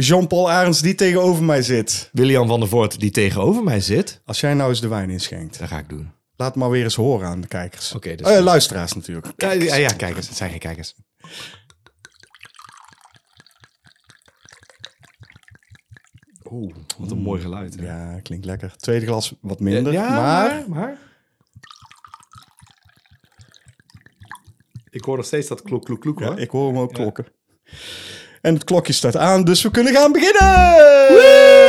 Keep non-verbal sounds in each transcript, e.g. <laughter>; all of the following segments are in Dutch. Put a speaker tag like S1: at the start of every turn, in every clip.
S1: Jean-Paul Arends die tegenover mij zit.
S2: William van der Voort, die tegenover mij zit,
S1: Als jij nou eens de wijn inschenkt,
S2: dat ga ik doen.
S1: laat maar weer eens horen aan de kijkers.
S2: Oké, dus-
S1: Eh, luisteraars natuurlijk.
S2: Ja, ja, ja, kijkers. Het zijn geen kijkers. Oeh, wat een mooi geluid. hè.
S1: Ja, klinkt lekker. Tweede glas wat minder,
S2: Ja,
S1: maar...
S2: Ik hoor nog steeds dat kloek, kloek, kloek.
S1: Ja,
S2: hoor.
S1: ik hoor hem ook klokken. En het klokje staat aan, dus we kunnen gaan beginnen!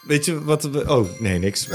S2: Weet je wat we... Oh,
S1: <laughs>
S2: nee, niks.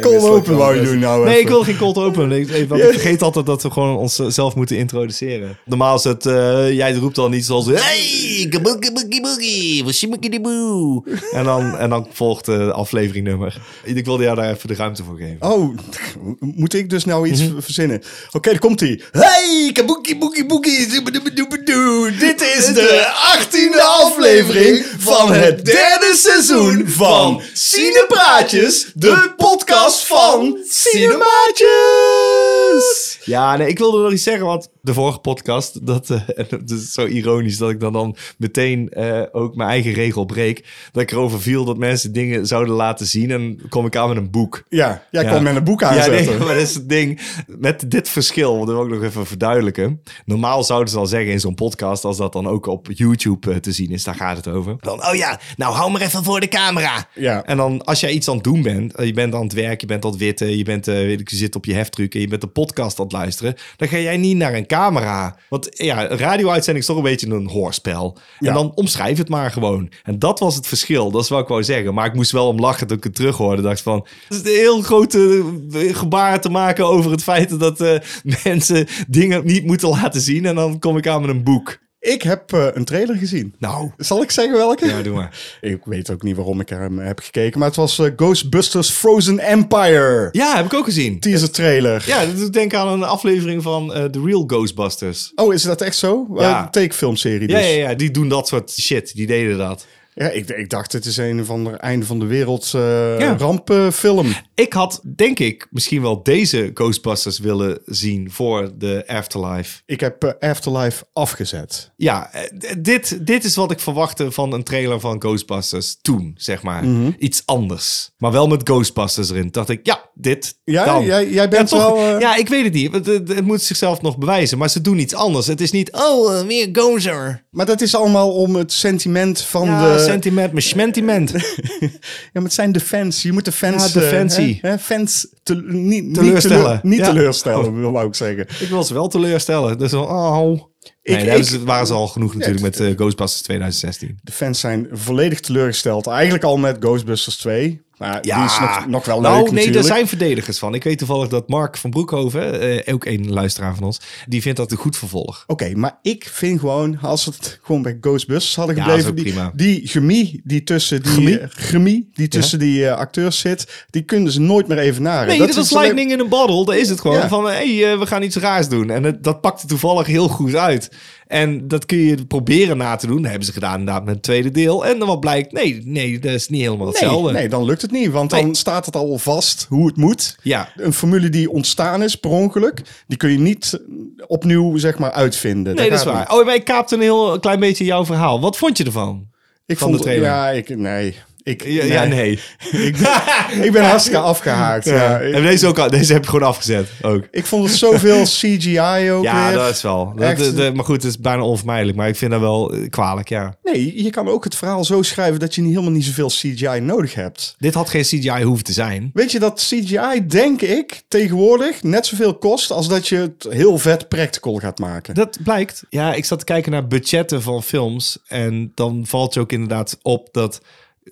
S1: Cold open wou je doen nou
S2: Nee,
S1: even.
S2: ik wil geen cold open. Nee, ik- want Ik vergeet altijd dat we gewoon onszelf moeten introduceren. Normaal is het... eh, jij roept dan iets als... Hey, kaboekie, boekie, boekie, washimaki, die boe. En dan, en dan volgt eh, de afleveringnummer. Ik wilde jou daar even de ruimte voor geven.
S1: Oh, <laughs> moet ik dus nou iets verzinnen? Oké, daar komt hij. Hey, kaboekie, boekie, boekie, zoebedoebedoebedoe. Dit is de 18e aflevering van het derde seizoen van Cinepraatjes, de podcast van Cinemaatjes.
S2: Ja, nee, ik wilde nog iets zeggen, want de vorige podcast, dat, eh, <laughs> dat is zo ironisch dat ik dan, dan meteen eh, ook mijn eigen regel breek. Dat ik erover viel dat mensen dingen zouden laten zien en kom ik aan met een boek.
S1: Ja, jij
S2: Ja.
S1: kwam met een boek
S2: Ja, nee,
S1: aanzetten.
S2: <laughs> maar dat is het ding. Met dit verschil, want dat wil ik nog even verduidelijken. Normaal zouden ze dan zeggen in zo'n podcast, als dat dan ook op YouTube eh, te zien is, daar gaat het over. Dan, oh ja, nou hou maar even voor de camera.
S1: Ja.
S2: En dan, als jij iets aan het doen bent, eh, je bent aan het werk, je bent aan het witten, je, bent, eh, weet ik, je zit op je heftruck en je bent een podcast aan het luisteren, dan ga jij niet naar een camera. Want eh, ja, een radio-uitzending is toch een beetje een hoorspel.
S1: Ja.
S2: En dan omschrijf het maar gewoon. En dat was het verschil, dat is wat ik wou zeggen. Maar ik moest wel om lachen toen ik het terug hoorde. dacht van, het is een heel grote eh, gebaar te maken over het feit dat eh, <laughs> mensen dingen niet moeten laten zien. En dan kom ik aan met een boek.
S1: Ik heb eh, een trailer gezien.
S2: Nou,
S1: Zal ik zeggen welke?
S2: ja, doe maar.
S1: Ik weet ook niet waarom ik hem heb gekeken, maar het was eh, Ghostbusters Frozen Empire.
S2: Ja, heb ik ook gezien.
S1: Teaser trailer.
S2: Ja, dat doet denken aan een aflevering van eh, The Real Ghostbusters.
S1: Oh, is dat echt zo?
S2: Ja.
S1: Ja. Take-filmserie dus.
S2: Ja, ja, ja, die doen dat soort shit. Die deden dat.
S1: Ja, ik, ik dacht, het is een van de einde van de wereld eh
S2: Ja.
S1: rampenfilm.
S2: Ik had, denk ik, misschien wel deze Ghostbusters willen zien voor de Afterlife.
S1: Ik heb eh, Afterlife afgezet.
S2: Ja, eh, d- dit, dit is wat ik verwachtte van een trailer van Ghostbusters toen, zeg maar.
S1: Mhm.
S2: Iets anders. Maar wel met Ghostbusters erin. Dacht ik, ja, dit.
S1: Ja,
S2: dan.
S1: jij- jij bent
S2: ja,
S1: wel, eh,
S2: Ja, ik weet het niet. want Het, het moet zichzelf nog bewijzen. Maar ze doen iets anders. Het is niet, oh, eh, weer Gozer.
S1: Maar dat is allemaal om het sentiment van
S2: Ja,
S1: de...
S2: sentiment, mijn sentiment.
S1: <laughs> ja, maar het zijn de fans. Je moet de fans...
S2: Ja, de
S1: eh,
S2: fancy.
S1: hè, hè, fans te, niet,
S2: Teleurstellen.
S1: Niet, teleur- niet
S2: Ja.
S1: teleurstellen, <laughs> wil ik zeggen.
S2: Ik wil ze wel teleurstellen. Dus wel, oh.
S1: Ik-
S2: Nee, daar hebben
S1: ik-
S2: ze- waren ze al genoeg natuurlijk met eh, Ghostbusters 2016.
S1: De fans zijn volledig teleurgesteld. Eigenlijk al met Ghostbusters 2. Maar die is nog, nog wel
S2: nou,
S1: leuk
S2: nee,
S1: natuurlijk.
S2: er zijn verdedigers van. Ik weet toevallig dat Mark van Broekhoven, eh, ook een luisteraar van ons, die vindt dat een goed vervolg.
S1: Oké, maar ik vind gewoon, als we het gewoon bij Ghostbusters hadden
S2: Ja,
S1: gebleven,
S2: is ook
S1: die,
S2: prima.
S1: die chemie die tussen die,
S2: Chemie?
S1: eh, chemie die, tussen die eh, acteurs zit, die kunnen ze nooit meer evenaren.
S2: Nee, dat,
S1: is
S2: was
S1: alleen-
S2: lightning in een bottle. Daar is het gewoon
S1: Ja.
S2: van, hé, hey, eh, we gaan iets raars doen. En het- dat pakte toevallig heel goed uit. En dat kun je proberen na te doen. Dat hebben ze gedaan inderdaad met het tweede deel. En dan wat blijkt, nee, nee, dat is niet helemaal hetzelfde.
S1: Nee, nee, dan lukt het niet, want
S2: Nee.
S1: dan staat het al vast hoe het moet.
S2: Ja.
S1: Een formule die ontstaan is per ongeluk, die kun je niet eh, opnieuw zeg maar uitvinden.
S2: Nee, dat is
S1: gaat
S2: waar.
S1: niet.
S2: Oh, maar ik kaapte een heel klein beetje jouw verhaal. Wat vond je ervan?
S1: Ik
S2: Van
S1: vond
S2: de
S1: het-
S2: trailer.
S1: Ja, ik nee, ik
S2: Ja, ja, <laughs> nee.
S1: Ik, ben, ik ben hartstikke afgehaakt. Ja.
S2: Ja,
S1: Ik,
S2: En deze, ook, al- deze heb ik gewoon afgezet. Ook.
S1: ik vond het
S2: <laughs>
S1: zoveel CGI ook
S2: Ja,
S1: weer.
S2: dat is wel. Dat,
S1: Echt.
S2: dat- dat- maar goed, het is bijna onvermijdelijk. Maar ik vind dat wel eh, kwalijk, ja.
S1: Nee, je kan ook het verhaal zo schrijven dat je niet, helemaal niet zoveel CGI nodig hebt.
S2: Dit had geen CGI hoeven te zijn.
S1: Weet je dat CGI, denk ik, tegenwoordig net zoveel kost als dat je het heel vet practical gaat maken.
S2: Dat blijkt. Ja, ik zat te kijken naar budgetten van films. En dan valt je ook inderdaad op dat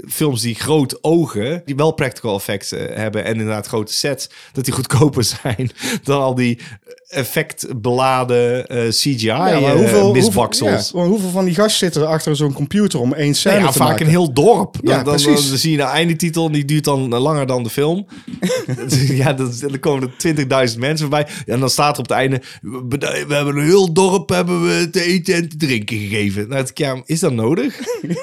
S2: films die groot ogen, die <laughs> wel practical effects eh, hebben en inderdaad grote sets, dat die goedkoper zijn dan al die effectbeladen eh, CGI
S1: Ja, maar
S2: eh,
S1: hoeveel,
S2: misbaksels.
S1: Hoeveel, ja, maar hoeveel van die gasten zitten er achter zo'n computer om één scène
S2: Nee, ja,
S1: te
S2: vaak
S1: maken?
S2: een heel dorp. Dan,
S1: Ja,
S2: dan, dan,
S1: precies.
S2: zie je een eindetitel en die duurt dan eh, langer dan de
S1: <laughs>
S2: film. Dus, ja, dat, is- dan komen er 20.000 mensen bij. En dan staat er op het einde... We, we hebben een heel dorp hebben we te eten en te drinken gegeven. Nou, ik, ja, is dat
S1: <laughs>
S2: nodig?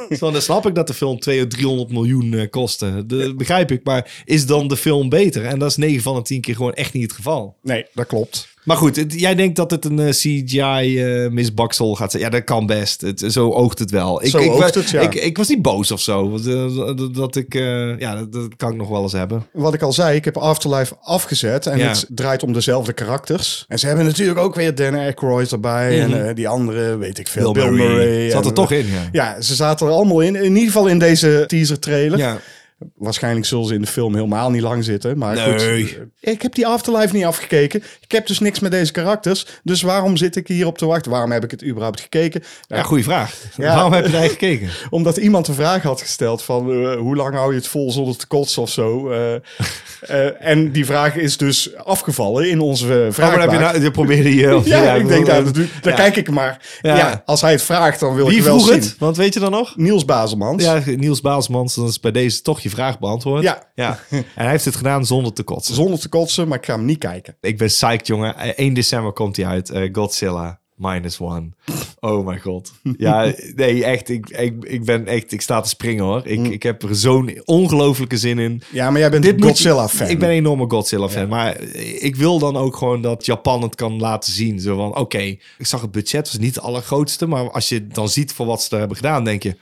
S2: Zo, dan snap ik dat de film 200 of 300 miljoen eh, kostte. Dat begrijp ik. Maar is dan de film beter? En dat is 9 van de 10 keer gewoon echt niet het geval.
S1: Nee, dat klopt.
S2: Maar goed, het- jij denkt dat het een eh, CGI eh misbaksel gaat zijn. Ja, dat kan best. Het, zo oogt het wel. Ik,
S1: Zo
S2: ik, wa-
S1: oogt het, ja.
S2: ik, ik was niet boos of zo. Want, eh, dat, dat ik, eh, ja, dat, dat kan ik nog wel eens hebben.
S1: Wat ik al zei, ik heb Afterlife afgezet en
S2: Ja.
S1: het draait om dezelfde karakters. En ze hebben natuurlijk ook weer Dan Aykroyd erbij en eh, die andere, weet ik veel, Bill, Murray.
S2: Zat er
S1: en- eh,
S2: toch in, ja.
S1: Ja, ze zaten er allemaal in. In ieder geval in deze teaser trailer.
S2: Ja.
S1: Waarschijnlijk zullen ze in de film helemaal niet lang zitten. Maar
S2: Nee.
S1: goed, Eh, ik heb die Afterlife niet afgekeken. Ik heb dus niks met deze karakters. Dus waarom zit ik hierop te wachten? Waarom heb ik het überhaupt gekeken? Nou,
S2: Ja, goede vraag.
S1: Ja.
S2: Waarom heb je daar gekeken?
S1: omdat iemand de vraag had gesteld van eh, hoe lang hou je het vol zonder te kotsen of zo. eh, eh, en die vraag is dus afgevallen in onze eh,
S2: Oh, maar
S1: vraagbaak.
S2: heb je nou, je probeerde je... of-
S1: <laughs>
S2: eh,
S1: ja, ik denk dat. Dan
S2: ja.
S1: kijk ik maar.
S2: Ja.
S1: Ja. als hij het vraagt, dan wil
S2: Wie
S1: ik wel
S2: vroeg
S1: zien.
S2: het? Want weet je dan nog?
S1: Niels Bazelmans.
S2: Ja, Niels Baalsmans, dan is bij deze toch je vraag beantwoord.
S1: Ja. <laughs>
S2: ja. En hij heeft het gedaan zonder te kotsen.
S1: Zonder te kotsen, maar ik ga hem niet kijken.
S2: Ik ben psyched, jongen. Eh, 1 december komt hij uit. eh, Godzilla Minus One. Oh mijn god. Ja, nee, echt. Ik, ik, ik ben echt... Ik sta te springen, hoor. Ik, ik heb er zo'n ongelofelijke zin in.
S1: Ja, maar jij bent
S2: Dit
S1: een
S2: moet je-
S1: Godzilla-fan.
S2: Ik ben een enorme Godzilla-fan. Maar ik wil dan ook gewoon dat Japan het kan laten zien. Zo van, oké, ik zag het budget. was niet het allergrootste. Maar als je dan ziet voor wat ze daar hebben gedaan, denk je...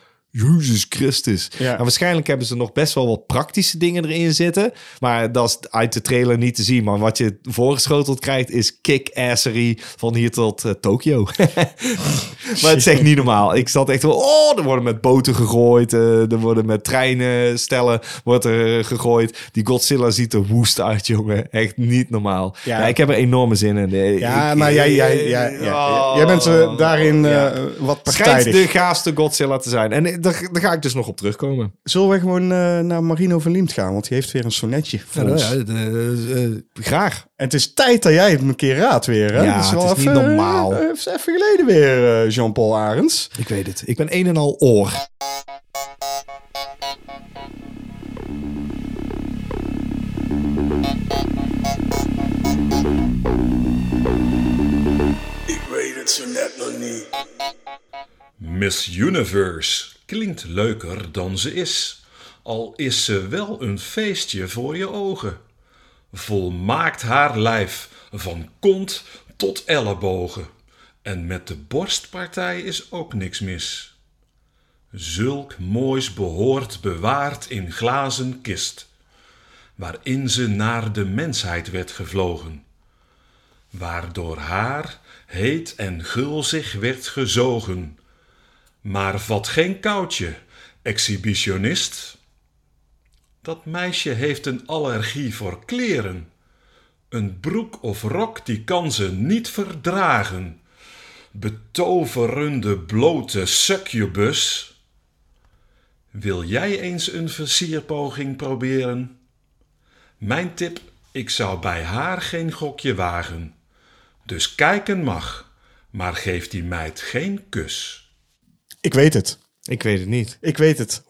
S2: Jezus Christus.
S1: Ja.
S2: En waarschijnlijk hebben ze nog best wel wat praktische dingen erin zitten. Maar dat is uit de trailer niet te zien. Maar wat je voorgeschoteld krijgt is kick-assery van hier tot eh, <laughs> Tokio. Maar het is echt niet normaal. Ik zat echt wel, oh, er worden met boten gegooid. eh, er worden met treinen, stellen, wordt er eh, gegooid. Die Godzilla ziet er woest uit, jongen. Echt niet normaal. Ja,
S1: Ja.
S2: ik heb er enorme zin in. Eh,
S1: Ja,
S2: ik- Oh.
S1: maar jij, jij, jij, jij, jij bent eh, daarin eh,
S2: Ja.
S1: wat
S2: Het schijnt
S1: partijdig.
S2: de gaafste Godzilla te zijn. En eh, daar, daar ga ik dus nog op terugkomen.
S1: Zullen we gewoon eh, naar Marino van Liemt gaan? Want die heeft weer een sonnetje voor ons. eh,
S2: graag.
S1: En het is tijd dat jij het een keer raadt weer. Hè?
S2: Ja,
S1: Dat wel
S2: het is niet normaal.
S1: eh, even even geleden weer, eh, Jean-Paul Arends.
S2: Ik weet het. Ik ben een en al oor.
S3: Ik weet het zo net nog niet.
S4: Miss Universe klinkt leuker dan ze is, al is ze wel een feestje voor je ogen. Volmaakt haar lijf, van kont tot ellebogen. En met de borstpartij is ook niks mis. Zulk moois behoort bewaard in glazen kist, waarin ze naar de mensheid werd gevlogen waardoor haar heet en gulzig werd gezogen. Maar vat geen koudje, exhibitionist. Dat meisje heeft een allergie voor kleren. Een broek of rok die kan ze niet verdragen. Betoverende blote succubus. Wil jij eens een versierpoging proberen? Mijn tip: ik zou bij haar geen gokje wagen. Dus kijken mag, maar geef die meid geen kus.
S1: Ik weet het.
S2: Ik weet het niet.
S1: Ik weet het.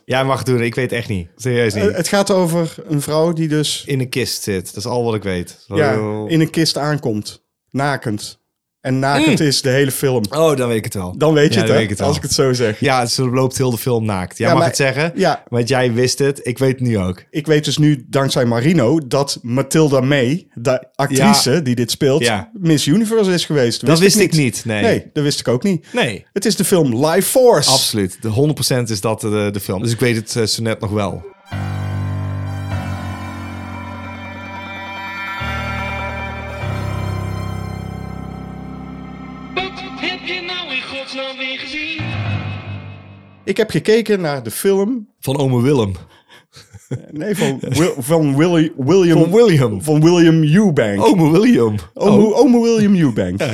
S1: 100%.
S2: Jij mag het doen. Ik weet echt niet. Serieus niet.
S1: Eh, het gaat over een vrouw die dus
S2: in een kist zit. Dat is al wat ik weet.
S1: ja,
S2: Oh.
S1: in een kist aankomt. Nakend. En nakend is de hele film.
S2: Oh, dan weet ik het wel.
S1: Dan weet je
S2: Mm. Ja,
S1: het,
S2: dan
S1: hè?
S2: weet ik
S1: als
S2: wel.
S1: ik het zo zeg.
S2: Ja, ze loopt heel de film naakt. Jij
S1: Ja,
S2: mag
S1: maar-
S2: het zeggen,
S1: ja.
S2: want jij wist het. Ik weet het nu ook.
S1: ik weet dus nu dankzij Marino dat Matilda May, de actrice die dit speelt,
S2: Ja.
S1: Miss Universe is geweest.
S2: Dat wist ik niet, nee.
S1: Nee, dat wist ik ook niet.
S2: Nee.
S1: Het is de film Life Force.
S2: Absoluut. De 100% is dat de, de film. Dus ik weet het eh, zo net nog wel.
S5: Wat heb je nou in godsnaam weer gezien?
S1: Ik heb gekeken naar de film.
S2: Van ome Willem.
S1: Nee, van, Wil-
S2: <laughs>
S1: van Willy, William.
S2: Van William. Oh.
S1: Van William Eubank. Oh,
S2: Ome William. Oh.
S1: Ome, ome William Eubank. <laughs>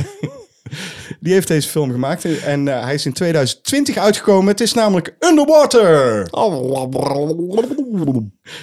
S1: Die heeft deze film gemaakt en eh, hij is in 2020 uitgekomen. Het is namelijk Underwater.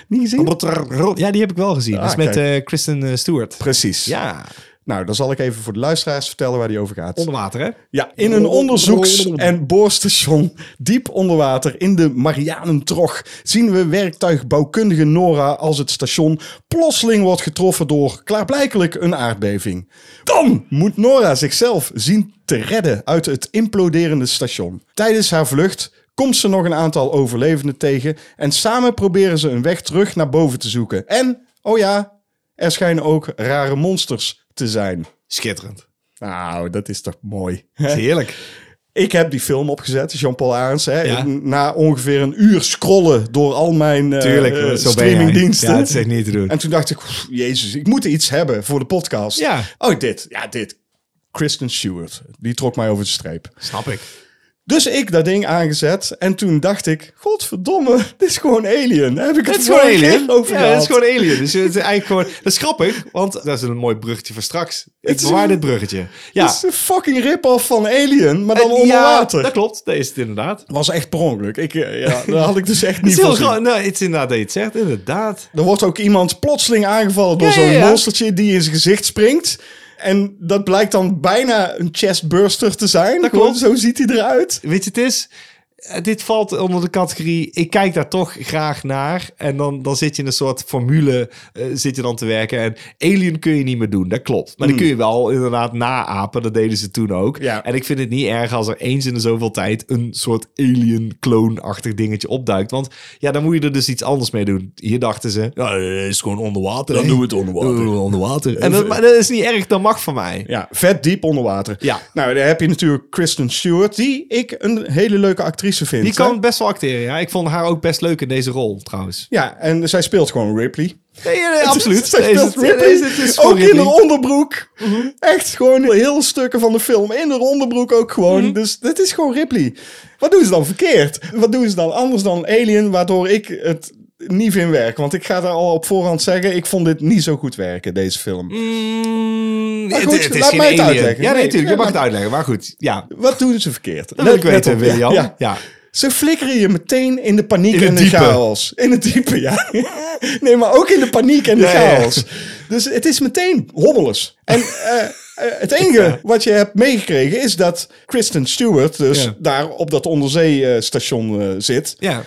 S1: Niet gezien?
S2: Oh. Ja, die heb ik wel gezien. dat is
S1: Ah,
S2: met
S1: kijk.
S2: eh Kristen eh, Stewart.
S1: Precies.
S2: Ja.
S1: Nou, dan zal ik even voor de luisteraars vertellen waar die over gaat.
S2: Onder water, hè?
S1: Ja, in een onderzoeks- en boorstation diep onder water in de Marianentrog zien we werktuigbouwkundige Nora als het station plotseling wordt getroffen door klaarblijkelijk een aardbeving. Dan moet Nora zichzelf zien te redden uit het imploderende station. Tijdens haar vlucht komt ze nog een aantal overlevenden tegen en samen proberen ze een weg terug naar boven te zoeken. En, oh ja, er schijnen ook rare monsters te zijn.
S2: Schitterend.
S1: Nou, dat is toch mooi. <laughs>
S2: Heerlijk.
S1: Ik heb die film opgezet, Jean-Paul Aarts. Hè,
S2: Ja.
S1: Na ongeveer een uur scrollen door al mijn eh,
S2: Tuurlijk,
S1: eh,
S2: zo ben jij.
S1: streamingdiensten.
S2: Ja, het is echt niet te doen.
S1: En toen dacht ik, "Pff, jezus, ik moet iets hebben voor de podcast.
S2: Ja.
S1: Oh, dit. Ja, dit. Kristen Stewart. Die trok mij over de streep.
S2: Snap ik.
S1: Dus ik dat ding aangezet. En toen dacht ik, godverdomme, dit is gewoon Alien. Daar heb ik het,
S2: Het is gewoon
S1: vorige keer
S2: alien.
S1: over
S2: ja,
S1: gehad.
S2: het is gewoon alien. Dus het is eigenlijk gewoon... Dat is grappig, want dat is een mooi bruggetje voor straks. Ik
S1: Het is
S2: bewaar
S1: een-
S2: dit bruggetje. Ja.
S1: Het is een fucking rip-off van Alien, maar dan
S2: En-
S1: onder
S2: ja,
S1: water.
S2: dat klopt. Dat is het inderdaad.
S1: was echt per ongeluk. Ik, eh, ja, dat had ik dus echt
S2: Het
S1: niet
S2: is heel
S1: voorzien.
S2: gra- Nou, het is inderdaad dat je het zegt. Inderdaad.
S1: Er wordt ook iemand plotseling aangevallen door
S2: Ja,
S1: zo'n
S2: ja, ja.
S1: monstertje die in zijn gezicht springt. En dat blijkt dan bijna een chestburster te zijn.
S2: Dat
S1: Gewoon,
S2: klopt.
S1: Zo ziet hij eruit.
S2: Weet je, het is... eh, Dit valt onder de categorie, ik kijk daar toch graag naar. En dan, dan zit je in een soort formule eh, zit je dan te werken. En Alien kun je niet meer doen, dat klopt. Maar die kun je wel inderdaad naapen, dat deden ze toen ook.
S1: Ja.
S2: En ik vind het niet erg als er eens in de zoveel tijd... een soort alien-kloonachtig dingetje opduikt. Want ja, dan moet je er dus iets anders mee doen. Hier dachten ze, ja, eh, is gewoon onder water. Dan doen we het onder water. onder water. En dat, maar dat is niet erg, dat mag van mij.
S1: Ja, vet diep onder water.
S2: Ja.
S1: Nou, daar heb je natuurlijk Kristen Stewart, die ik een hele leuke actrice vind.
S2: Die
S1: hè?
S2: kan best wel acteren, ja. Ik vond haar ook best leuk in deze rol, trouwens.
S1: Ja, en zij speelt gewoon Ripley.
S2: Nee,
S1: <laughs>
S2: nee, nee, <laughs> absoluut.
S1: Zij
S2: Deze-
S1: speelt
S2: deze-
S1: Ripley.
S2: deze is dus
S1: ook
S2: voor
S1: in
S2: Ripley.
S1: haar onderbroek.
S2: Mhm.
S1: Echt gewoon heel stukken van de film. In haar onderbroek ook gewoon.
S2: Mhm.
S1: Dus dat is gewoon Ripley. Wat doen ze dan verkeerd? Wat doen ze dan anders dan Alien, waardoor ik het niet vind werken? Want ik ga daar al op voorhand zeggen, ik vond dit niet zo goed werken, deze film.
S2: Mhm. Mm, het,
S1: goed,
S2: het is
S1: laat
S2: geen
S1: mij het
S2: alien.
S1: uitleggen.
S2: Ja,
S1: Nee,
S2: nee, natuurlijk.
S1: ja,
S2: Je mag
S1: maar-
S2: het uitleggen, maar goed. Ja,
S1: Wat doen ze verkeerd?
S2: dat wil ik
S1: Let- let
S2: weten,
S1: op,
S2: William.
S1: Ja, ja.
S2: ja.
S1: Ze flikkeren je meteen in de paniek
S2: het
S1: en de
S2: diepe.
S1: chaos. In het diepe, ja. <laughs> Nee, maar ook in de paniek en de
S2: Ja, ja.
S1: chaos. Dus het is meteen hommeles. En eh, eh, het enige wat je hebt meegekregen is dat Kristen Stewart dus
S2: Ja.
S1: daar op dat onderzeestation eh, zit.
S2: Ja.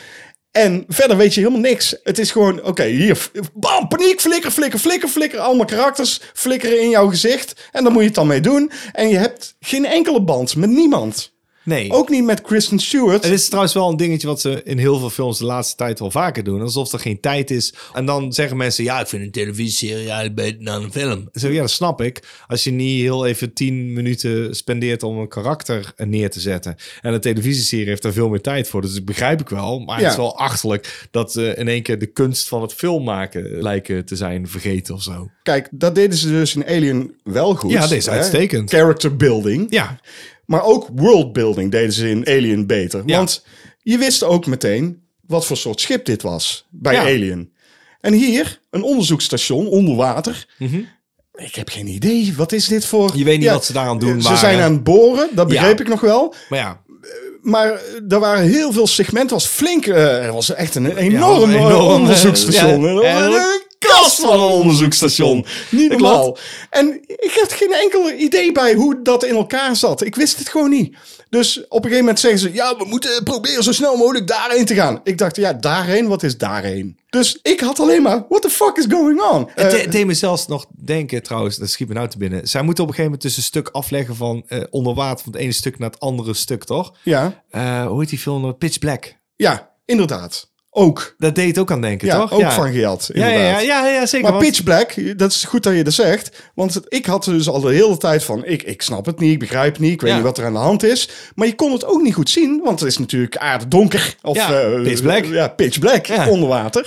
S1: En verder weet je helemaal niks. Het is gewoon, oké, hier, f- bam, paniek, flikker, flikker, flikker, flikker. Allemaal karakters flikkeren in jouw gezicht. En daar moet je het dan mee doen. En je hebt geen enkele band met niemand.
S2: Nee.
S1: Ook niet met Kristen Stewart.
S2: Het is trouwens wel een dingetje wat ze in heel veel films de laatste tijd wel vaker doen. Alsof er geen tijd is. En dan zeggen mensen, ja, ik vind een televisieserie eigenlijk beter dan een film. Zo, ja, dat snap ik. Als je niet heel even tien minuten spendeert om een karakter neer te zetten. En een televisieserie heeft daar veel meer tijd voor. Dus dat begrijp ik wel. Maar
S1: Ja.
S2: het is wel achterlijk dat ze in één keer de kunst van het film maken lijken te zijn vergeten of zo.
S1: Kijk, dat deden ze dus in Alien wel goed.
S2: Ja, dat is uitstekend.
S1: Character building.
S2: Ja,
S1: Maar ook world building deden ze in Alien beter.
S2: Ja.
S1: Want je wist ook meteen wat voor soort schip dit was bij
S2: Ja.
S1: Alien. En hier, een onderzoeksstation onder water. Ik heb geen idee. Wat is dit voor...
S2: Mhm. Je weet niet wat ze daar aan doen
S1: Ze
S2: waren.
S1: zijn aan het boren, dat begreep ik nog wel.
S2: maar ja.
S1: Maar eh, er waren heel veel segmenten. was flink... eh, er was echt een enorm,
S2: een enorm, eh,
S1: onderzoeksstation.
S2: ja,
S1: En er was
S2: eh,
S1: een kast van een onderzoeksstation. Niet
S2: Dat
S1: normaal. En ik had geen enkel idee bij hoe dat in elkaar zat. Ik wist het gewoon niet. Dus op een gegeven moment zeggen ze... Ja, we moeten proberen zo snel mogelijk daarheen te gaan. Ik dacht, ja, daarheen? Wat is daarheen? Dus ik had alleen maar... What the fuck is going on? Eh,
S2: Het de- deed me zelfs nog denken, trouwens, dat schiet me nou te binnen. Zij moeten op een gegeven moment dus een stuk afleggen van eh, onder water, van het ene stuk naar het andere stuk, toch?
S1: ja,
S2: Eh, hoe heet die film? nou? Pitch Black.
S1: ja, inderdaad. Ook.
S2: Dat deed het ook aan denken,
S1: Ja,
S2: toch?
S1: ook van geld,
S2: Ja, ja,
S1: inderdaad.
S2: ja, ja, ja, zeker.
S1: Maar
S2: want-
S1: Pitch Black, dat is goed dat je dat zegt. Want ik had er dus al de hele tijd van... ik, ik snap het niet, ik begrijp het niet, ik weet
S2: Ja.
S1: niet wat er aan de hand is. Maar je kon het ook niet goed zien, want het is natuurlijk aarddonker. Of,
S2: Ja,
S1: eh,
S2: pitch black.
S1: Ja, Pitch Black,
S2: Ja.
S1: onder water.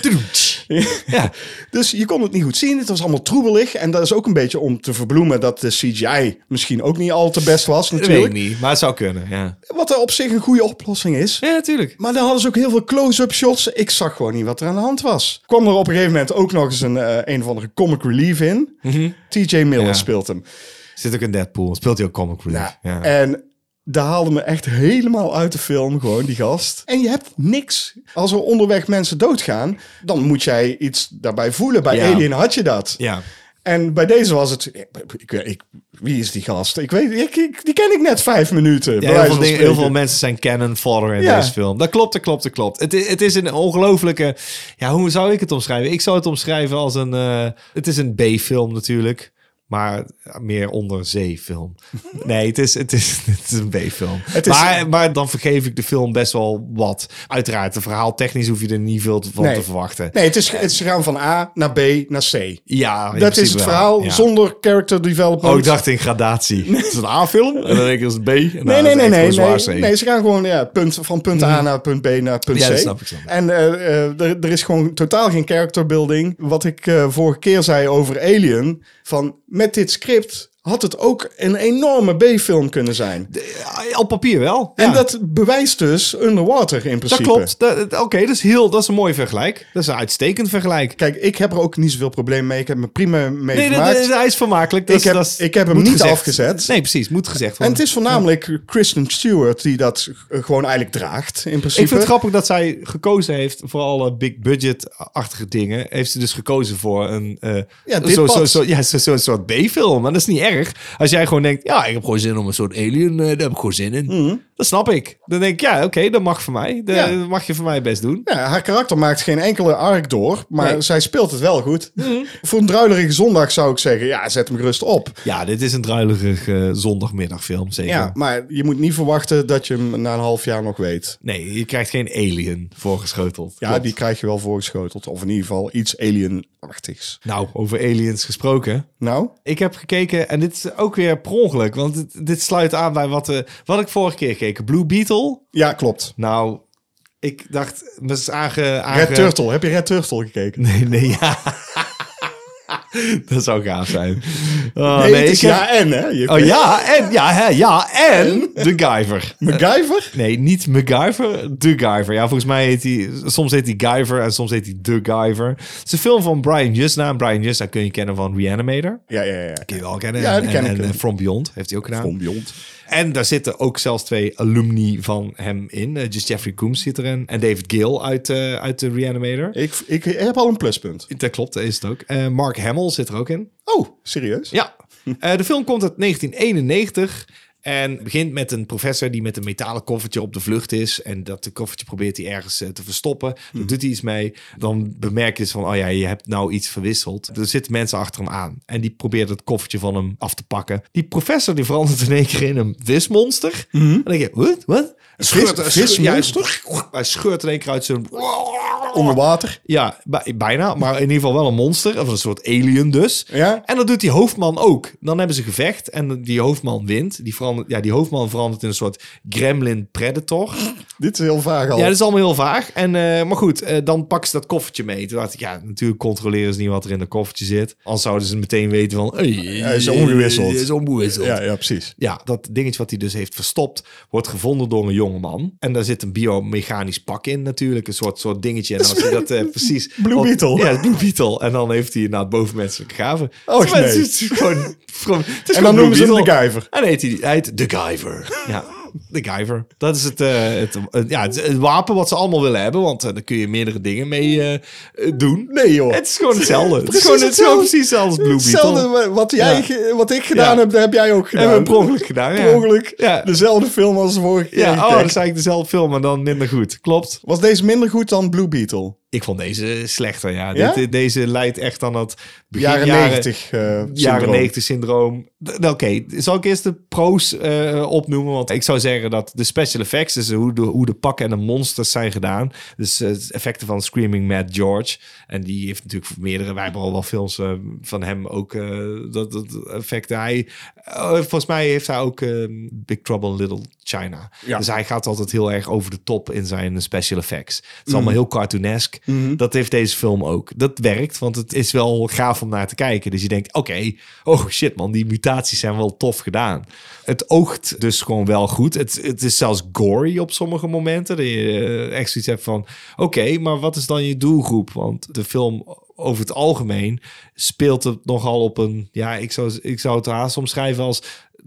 S2: Ja,
S1: <laughs> Dus je kon het niet goed zien, het was allemaal troebelig. En dat is ook een beetje om te verbloemen dat de CGI misschien ook niet al te best was
S2: dat weet ik
S1: natuurlijk.
S2: niet, maar het zou kunnen, ja.
S1: Wat er op zich een goede oplossing is.
S2: Ja, natuurlijk.
S1: Maar dan hadden ze ook heel veel close-up shots. Ik zag gewoon niet wat er aan de hand was. Kwam er op een gegeven moment ook nog eens een, eh, een of andere comic relief in. TJ Miller
S2: Mhm. Ja.
S1: speelt hem.
S2: Zit ook in Deadpool, speelt hij ook Comic Relief. Ja.
S1: En daar haalde me echt helemaal uit de film, gewoon die gast. En je hebt niks. Als er onderweg mensen doodgaan, dan moet jij iets daarbij voelen. Bij
S2: Ja.
S1: Alien had je dat.
S2: ja.
S1: En bij deze was het, ik, ik, ik- wie is die gast? Ik weet, ik, ik- die ken ik net vijf minuten. bij
S2: Ja, heel,
S1: wijze
S2: veel
S1: van
S2: dingen, heel
S1: spreken.
S2: veel mensen zijn canon fodder in
S1: Ja.
S2: deze film. Dat klopt, dat klopt, dat klopt. Het, i- het is een ongelofelijke... Ja, hoe zou ik het omschrijven? Ik zou het omschrijven als een... eh, het is een B-film natuurlijk. Maar meer onder zee-film. <laughs> Nee, het is, het is, <laughs> het is een B-film.
S1: Het is-
S2: Maar, maar dan vergeef ik de film best wel wat. Uiteraard, de verhaal technisch hoef je er niet veel te- van te verwachten.
S1: Nee, het is, het is gaan van A naar B naar C.
S2: Ja, in
S1: dat
S2: principe
S1: is het
S2: wel,
S1: verhaal
S2: ja.
S1: zonder character development.
S2: Oh, ik dacht in gradatie. Het is een A-film. En dan denk ik, dat is een B. Nou, En
S1: Nee,
S2: dan
S1: nee, nee,
S2: is het
S1: nee,
S2: echt gewoon
S1: nee,
S2: zwaar C.
S1: nee. Ze gaan gewoon ja, punt, van punt A naar punt B naar punt
S2: Mhm. Ja,
S1: C.
S2: dat snap ik, snap ik.
S1: En eh, eh, er, er is gewoon totaal geen character building. Wat ik eh, vorige keer zei over Alien. Van met dit script had het ook een enorme B-film kunnen zijn.
S2: Ja, eh, Op papier wel.
S1: En
S2: Ja.
S1: dat bewijst dus Underwater in
S2: Dat
S1: principe.
S2: klopt. Dat- dat- Oké, dat is heel, dat is een mooi vergelijk. Dat is een uitstekend vergelijk.
S1: Kijk, ik heb er ook niet zoveel probleem mee. Ik heb me prima mee
S2: Nee, dat,
S1: vermaakt.
S2: dat- hij is vermakelijk. Dat,
S1: Ik heb-
S2: dat is-
S1: ik heb hem
S2: moet
S1: niet afgezet.
S2: Nee, precies. Moet gezegd
S1: En
S2: worden.
S1: het is voornamelijk Kristen Stewart die dat eh, gewoon eigenlijk draagt in principe.
S2: ik vind het grappig dat zij gekozen heeft voor alle big budget-achtige dingen. Heeft ze dus gekozen voor een eh,
S1: Ja, dit
S2: zo, zo,
S1: past.
S2: zo, ja, zo, zo, soort B-film. Maar dat is niet erg. Als jij gewoon denkt, ja, ik heb gewoon zin om een soort alien. eh, daar heb ik gewoon zin in. Dat snap ik. Dan denk ik, ja, oké, dat mag voor mij. Dat
S1: Mhm. Ja.
S2: dat mag je voor mij best doen.
S1: Ja, haar karakter maakt geen enkele arc door, maar
S2: Nee. Mhm.
S1: zij speelt het wel goed. Voor een druilerige zondag zou ik zeggen, ja, zet hem gerust op.
S2: Ja, dit is een druilerig eh, zondagmiddagfilm, zeker.
S1: Ja, maar je moet niet verwachten dat je hem na een half jaar nog weet.
S2: Nee, je krijgt geen alien voorgeschoteld.
S1: Ja,
S2: Klopt.
S1: die krijg je wel voorgeschoteld. Of in ieder geval iets alienachtigs.
S2: Nou, over aliens gesproken.
S1: Nou,
S2: Ik heb gekeken, en dit is ook weer per ongeluk, want dit, dit sluit aan bij wat, eh, wat ik vorige keer keek. Blue Beetle.
S1: ja, klopt.
S2: Nou, ik dacht, dat is aange... aange
S1: Red Turtle. Heb je Red Turtle gekeken?
S2: eh, <laughs> Nee, nee, ja. <laughs> dat zou gaaf zijn. Oh,
S1: nee, het is
S2: ik heb-
S1: ja en, hè? Je
S2: Oh ja, en, ja, hè, ja, en de Guyver.
S1: <laughs> MacGyver?
S2: Nee, niet MacGyver, De Guyver. Ja, volgens mij heet hij... Soms heet hij Guyver en soms heet hij De Guyver. Het is een film van Brian Jusna. En Brian Jusna kun je kennen van Reanimator.
S1: Ja, ja, ja.
S2: Kun je wel kennen.
S1: Ja,
S2: En-
S1: die ken
S2: en,
S1: ik.
S2: en From Beyond heeft hij ook gedaan.
S1: From Beyond.
S2: En daar zitten ook zelfs twee alumni van hem in. Eh, dus Jeffrey Coombs zit erin. En David Gill uit, eh, uit de Reanimator.
S1: Ik, ik heb al een pluspunt.
S2: Dat klopt, dat is het ook. Eh, Mark Hamill zit er ook in.
S1: Oh, serieus?
S2: Ja. Eh, de film komt uit 1991 en begint met een professor die met een metalen koffertje op de vlucht is. En dat koffertje probeert hij ergens eh, te verstoppen. Daar doet hij iets mee. Dan bemerk je dus van, oh ja, je hebt nou iets verwisseld. Er zitten mensen achter hem aan en die probeert het koffertje van hem af te pakken. Die professor die verandert in één keer in een vismonster. En dan denk je, wat? Wat? Mhm. Scheurt- scheurt-
S1: vismonster?
S2: Ja, hij scheurt in één keer uit zijn...
S1: Onder water?
S2: Ja, bij- bijna. Maar in ieder geval wel een monster. Of een soort alien dus.
S1: Ja.
S2: En dat doet die hoofdman ook. Dan hebben ze gevecht en die hoofdman wint. Die, verandert, ja, die hoofdman verandert in een soort gremlin predator.
S1: Dit is heel vaag al.
S2: Ja, dat is allemaal heel vaag. En, eh, maar goed, eh, dan pakken ze dat koffertje mee. Toen dacht ik, ja, natuurlijk controleren ze niet wat er in dat koffertje zit. Anders zouden ze meteen weten van... Hey,
S1: Hij is omgewisseld.
S2: Hij is omgewisseld.
S1: ja, ja, precies.
S2: Ja, dat dingetje wat hij dus heeft verstopt, wordt gevonden door een jongeman. En daar zit een biomechanisch pak in natuurlijk, een soort, soort dingetje. En als hij dat eh,
S1: <laughs>
S2: precies...
S1: Blue
S2: want-
S1: Beetle.
S2: Ja, Blue Beetle. En dan heeft hij inderdaad bovenmenselijke gaven.
S1: Oh,
S2: Het is-
S1: nee.
S2: Het is gewoon... het is gewoon- het is
S1: En
S2: gewoon
S1: dan noemen ze hem
S2: Blue
S1: de
S2: Beetle.
S1: Guyver.
S2: En dan heet hij, hij heet de Guyver. Ja, de Guyver. Dat is het, eh, het, eh, ja, het, het wapen wat ze allemaal willen hebben, want eh, daar kun je meerdere dingen mee eh, eh, doen.
S1: Nee, joh.
S2: Het is gewoon hetzelfde. Het is
S1: Precies
S2: gewoon, het is gewoon
S1: hetzelfde.
S2: precies hetzelfde als Blue Beetle.
S1: Hetzelfde wa- wat, jij,
S2: Ja.
S1: ge- wat ik gedaan
S2: Ja.
S1: heb, dat heb jij ook gedaan.
S2: Hebben we per ongelper gedaan, ja.
S1: Per ongeluk.
S2: Ja.
S1: Dezelfde film als de vorige keer.
S2: Ja, oh, dat is
S1: gekeken.
S2: eigenlijk dezelfde film, maar dan minder goed. Klopt.
S1: Was deze minder goed dan Blue Beetle?
S2: Ik vond deze slechter, ja.
S1: Ja?
S2: Dit- deze leidt echt aan dat begin
S1: Jaren
S2: jaren-
S1: 90 eh
S2: Jaren
S1: syndroom.
S2: 90 syndroom. D- nou, Oké, zal ik eerst de pro's eh, opnoemen? Want ik zou zeggen dat de special effects, dus hoe de, hoe de pakken en de monsters zijn gedaan. Dus eh, effecten van Screaming Mad George. En die heeft natuurlijk voor meerdere, wij hebben al wel films eh, van hem ook eh, dat, dat effect. Hij, eh, volgens mij heeft hij ook eh, Big Trouble in Little China. Dus hij gaat altijd heel erg over de top in zijn special effects. Het is allemaal heel cartoonesk. Dat heeft deze film ook. Dat werkt, want het is wel gaaf om naar te kijken. Dus je denkt, oké, oh shit man, die mutaties zijn wel tof gedaan. Het oogt dus gewoon wel goed. Het, het is zelfs gory op sommige momenten. Dat je eh, echt zoiets hebt van, oké, maar wat is dan je doelgroep? Want de film over het algemeen speelt het nogal op een... Ja, ik zou, ik zou het haast omschrijven als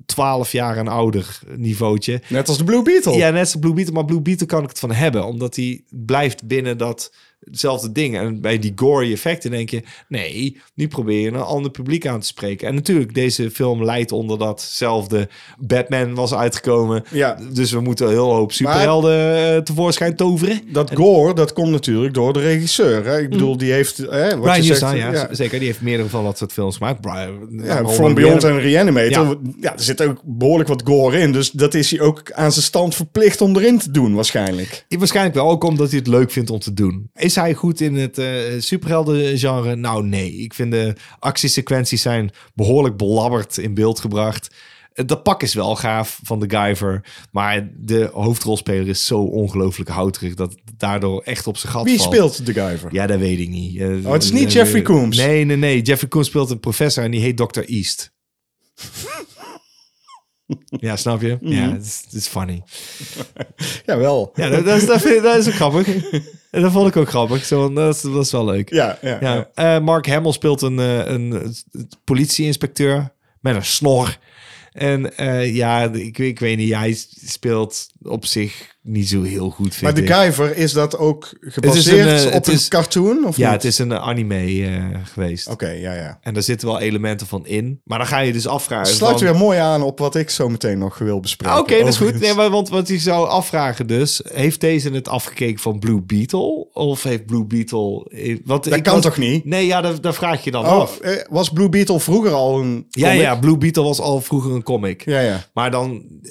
S2: 12 jaar en ouder niveautje.
S1: Net als de Blue Beetle.
S2: Ja, net als Blue Beetle. Maar Blue Beetle kan ik het van hebben. Omdat hij blijft binnen dat hetzelfde ding. En bij die gory effecten denk je, nee, nu probeer je een ander publiek aan te spreken. En natuurlijk, deze film leidt onder datzelfde. Batman was uitgekomen,
S1: Ja.
S2: dus we moeten een heel hoop superhelden eh, tevoorschijn toveren.
S1: Dat gore, dat komt natuurlijk door de regisseur. Hè? Ik bedoel, die heeft... Hè, wat
S2: Brian
S1: je zegt, eh,
S2: Justin, Mm. ja, z- zeker. Die heeft meerdere van dat soort films gemaakt. Brian,
S1: Ja,
S2: Ronald
S1: From Beyond
S2: Reanimator.
S1: en Reanimator. Ja. er zit ook behoorlijk wat gore in. Dus dat is hij ook aan zijn stand verplicht om erin te doen, waarschijnlijk.
S2: Ja, Waarschijnlijk wel, ook omdat hij het leuk vindt om te doen. Is hij goed in het superhelden superheldengenre? Nou, nee. Ik vind de actiesequenties zijn behoorlijk belabberd in beeld gebracht. Eh, Dat pak is wel gaaf van de Guyver. Maar de hoofdrolspeler is zo ongelooflijk houterig... dat het daardoor echt op zijn gat
S1: Wie
S2: valt.
S1: speelt de Guyver?
S2: Ja, dat weet ik niet. Eh,
S1: Oh, het is niet
S2: eh,
S1: Jeffrey Combs.
S2: Nee, nee, nee. Jeffrey Combs speelt een professor en die heet Dr.
S1: <laughs>
S2: East. ja, snap je?
S1: Mhm.
S2: Ja, het is- het is funny.
S1: Jawel.
S2: Ja, dat, dat is, dat, vind ik- dat is ook grappig. En dat vond ik ook grappig. Zo, dat, is, dat is wel leuk.
S1: Ja, ja, ja.
S2: Ja, eh, Mark Hamill speelt een, eh, een, eh, politieinspecteur met een snor. En eh, ja, ik, weet- ik weet niet, hij speelt op zich niet zo heel goed, vind
S1: Maar de
S2: ik.
S1: Guyver, is dat ook gebaseerd
S2: een, eh,
S1: op
S2: het
S1: een
S2: is-
S1: cartoon? Of
S2: Ja,
S1: niet?
S2: het is een anime eh, geweest.
S1: Oké, ja, ja.
S2: En daar zitten wel elementen van in. Maar dan ga je dus afvragen.
S1: Het sluit
S2: van-
S1: weer mooi aan op wat ik zo meteen nog wil bespreken.
S2: Ah, Oké, dat is goed.
S1: overigens.
S2: Nee, maar, want, want je zou afvragen dus... heeft deze het afgekeken van Blue Beetle? Of heeft Blue Beetle... eh, Want
S1: Dat
S2: ik
S1: kan
S2: was-
S1: toch niet?
S2: Nee, ja, dat, dat vraag je dan
S1: Oh,
S2: af.
S1: eh, was Blue Beetle vroeger al een
S2: Ja,
S1: comic?
S2: ja, Blue Beetle was al vroeger een comic.
S1: Ja, ja.
S2: Maar dan... eh,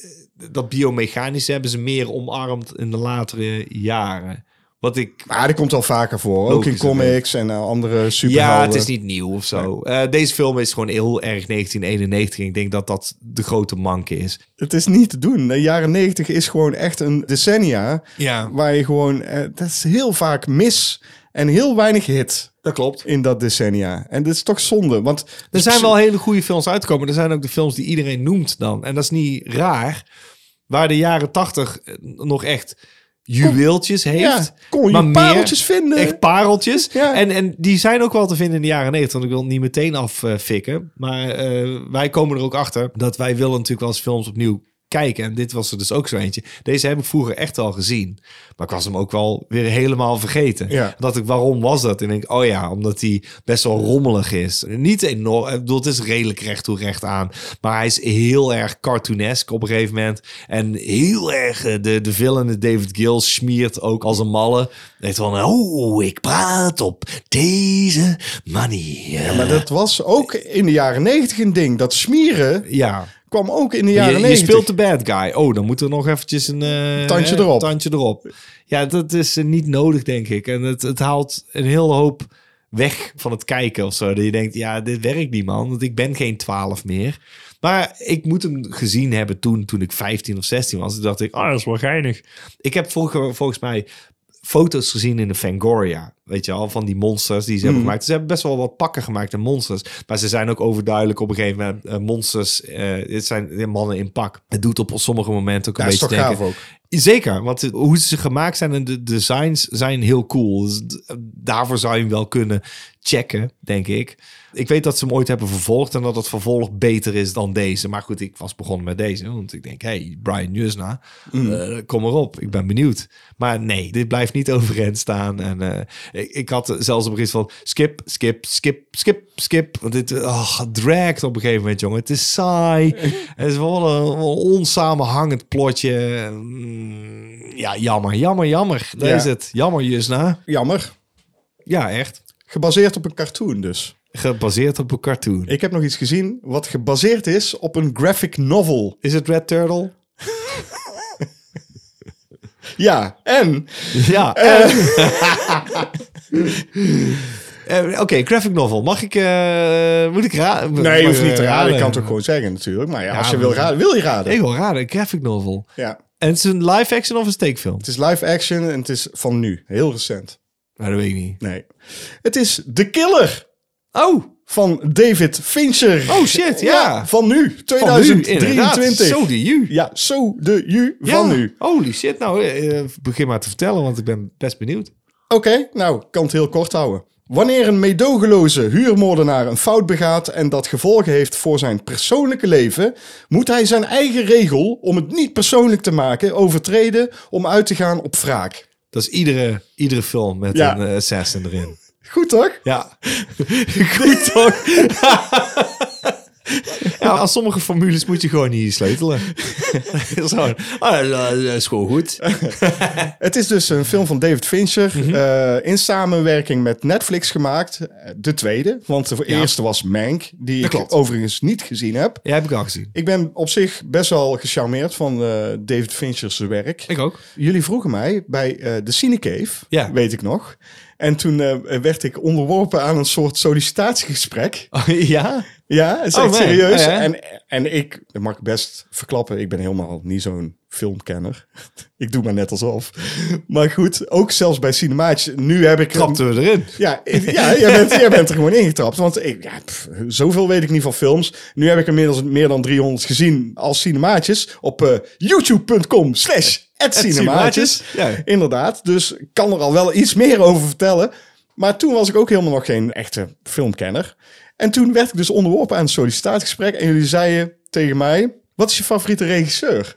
S2: Dat biomechanische hebben ze meer omarmd in de latere jaren. Wat ik...
S1: Maar dat komt al vaker voor. Ook in
S2: Logisch, dat
S1: comics en eh, andere superhelden.
S2: Ja, het is niet nieuw of zo. Eh, deze film is gewoon heel erg 1991. Ik denk dat dat de grote manke is.
S1: Het is niet te doen. De jaren negentig is gewoon echt een decennia...
S2: Ja,
S1: waar je gewoon... eh, dat is heel vaak mis en heel weinig hit
S2: dat klopt.
S1: in dat decennia. En dat is toch zonde, want...
S2: Er zijn wel hele goede films uitgekomen. Er zijn ook de films die iedereen noemt dan. En dat is niet raar. Waar de jaren tachtig eh, nog echt juweeltjes heeft.
S1: kon je
S2: maar meer
S1: pareltjes vinden.
S2: Echt pareltjes.
S1: Ja.
S2: En, en die zijn ook wel te vinden in de jaren negentig. Want ik wil het niet meteen affikken. Maar eh, wij komen er ook achter dat wij willen natuurlijk wel eens films opnieuw kijken. En dit was er dus ook zo eentje. Deze heb ik vroeger echt al gezien. Maar ik was hem ook wel weer helemaal vergeten.
S1: Ja.
S2: Dat ik, waarom was dat? En ik denk, oh ja, omdat hij best wel rommelig is. Niet enorm, ik bedoel, het is redelijk recht toe recht aan. Maar hij is heel erg cartoonesk op een gegeven moment. En heel erg, eh, de, de villain de David Gill smiert ook als een malle. Weet van, oh, ik praat op deze manier. Ja,
S1: Maar dat was ook in de jaren negentig een ding. Dat smieren kwam ook in de jaren
S2: Je, je
S1: negentig.
S2: speelt de bad guy. Oh, dan moet er nog eventjes een eh,
S1: Tandje
S2: eh,
S1: erop.
S2: tandje erop. Ja, dat is eh, niet nodig, denk ik. En het, het haalt een hele hoop weg van het kijken of zo. Dat je denkt, ja, dit werkt niet, man. Want ik ben geen 12 meer. Maar ik moet hem gezien hebben toen, toen ik 15 of 16 was. Toen dacht ik, oh, dat is wel geinig. Ik heb vroeger volgens mij foto's gezien in de Fangoria. Weet je al, van die monsters die ze hebben
S1: Mm.
S2: gemaakt. Ze hebben best wel wat pakken gemaakt en monsters. Maar ze zijn ook overduidelijk op een gegeven moment eh, monsters. eh het zijn mannen in pak. Het doet op sommige momenten ook een
S1: Ja, is
S2: beetje
S1: toch gaaf
S2: denken. Zeker, want het- hoe ze gemaakt zijn en de designs zijn heel cool. Dus d- daarvoor zou je hem wel kunnen checken, denk ik. Ik weet dat ze hem ooit hebben vervolgd en dat het vervolg beter is dan deze. Maar goed, ik was begonnen met deze, want ik denk, hey, Brian Jusna, eh, kom erop, ik ben benieuwd. Maar nee, dit blijft niet overeind staan. En eh, ik, ik had zelfs op een gegeven moment van skip, skip, skip, skip, skip. Want dit oh, draagt op een gegeven moment, jongen. Het
S1: <laughs>
S2: is saai. Het is wel een, wel een onsamenhangend plotje. Mm, Ja, jammer, jammer, jammer. Daar
S1: Ja.
S2: is het. Jammer, Jusna.
S1: Jammer.
S2: Ja, echt.
S1: Gebaseerd op een cartoon dus.
S2: Gebaseerd op een cartoon.
S1: Ik heb nog iets gezien wat gebaseerd is op een graphic novel.
S2: Is het Red Turtle?
S1: Ja, en
S2: <laughs> Ja. eh. <laughs> Eh, Oké, graphic novel. Mag ik... eh, moet ik raden?
S1: Nee, je hoeft niet te raden. Ik kan het ook gewoon zeggen natuurlijk. Maar ja, als je
S2: eh, maar-
S1: wil raden, wil je raden.
S2: Ik wil raden, een graphic novel.
S1: Ja.
S2: En het is een live action of een steekfilm?
S1: Het is live action en het is van nu. Heel recent.
S2: Nou, dat weet ik niet.
S1: Nee. Het is The Killer
S2: Oh,
S1: van David Fincher.
S2: Oh, shit, ja.
S1: Van nu,
S2: van nu inderdaad.
S1: 2023.
S2: Zo die you.
S1: Ja, zo de ju
S2: Ja,
S1: van nu.
S2: Holy shit. Nou, eh, eh, begin maar te vertellen, want ik ben best benieuwd.
S1: Oké, nou, ik kan het heel kort houden. Wanneer een meedogenloze huurmoordenaar een fout begaat en dat gevolgen heeft voor zijn persoonlijke leven, moet hij zijn eigen regel om het niet persoonlijk te maken overtreden om uit te gaan op wraak.
S2: Dat is iedere, iedere film met
S1: Ja.
S2: een eh, assassin erin.
S1: Goed toch?
S2: Ja. <laughs> Goed toch? <laughs> Ja, aan sommige formules moet je gewoon niet <laughs> sleutelen. Zo, ah, dat is gewoon goed.
S1: Het is dus een film van David Fincher
S2: Mhm.
S1: eh, in samenwerking met Netflix gemaakt. Eh, De tweede, want de eerste was Mank, die ik
S2: klopt.
S1: overigens niet gezien heb.
S2: Ja, heb ik al gezien.
S1: Ik ben op zich best wel gecharmeerd van eh, David Fincher's werk.
S2: Ik ook.
S1: Jullie vroegen mij bij eh, de Cinecave,
S2: Ja.
S1: weet ik nog. En toen eh, werd ik onderworpen aan een soort sollicitatiegesprek.
S2: <laughs> ja?
S1: Ja, is
S2: Oh,
S1: echt
S2: man.
S1: serieus.
S2: Oh, ja.
S1: En, en ik, dat mag ik best verklappen, ik ben helemaal niet zo'n filmkenner. <laughs> ik doe maar net alsof. Maar goed, ook zelfs bij Cinemaatje, nu heb ik...
S2: Trapten we erin.
S1: Ja, ik- ja jij, bent, jij bent er gewoon ingetrapt. Want ik, ja, pff, zoveel weet ik niet van films. Nu heb ik inmiddels meer dan 300 gezien als cinemaatjes op eh, youtube.com slash cinemaatjes.
S2: Ja.
S1: Inderdaad, dus ik kan er al wel iets meer over vertellen. Maar toen was ik ook helemaal nog geen echte filmkenner. En toen werd ik dus onderworpen aan een sollicitatiegesprek. En jullie zeiden tegen mij, wat is je favoriete regisseur?
S2: <laughs>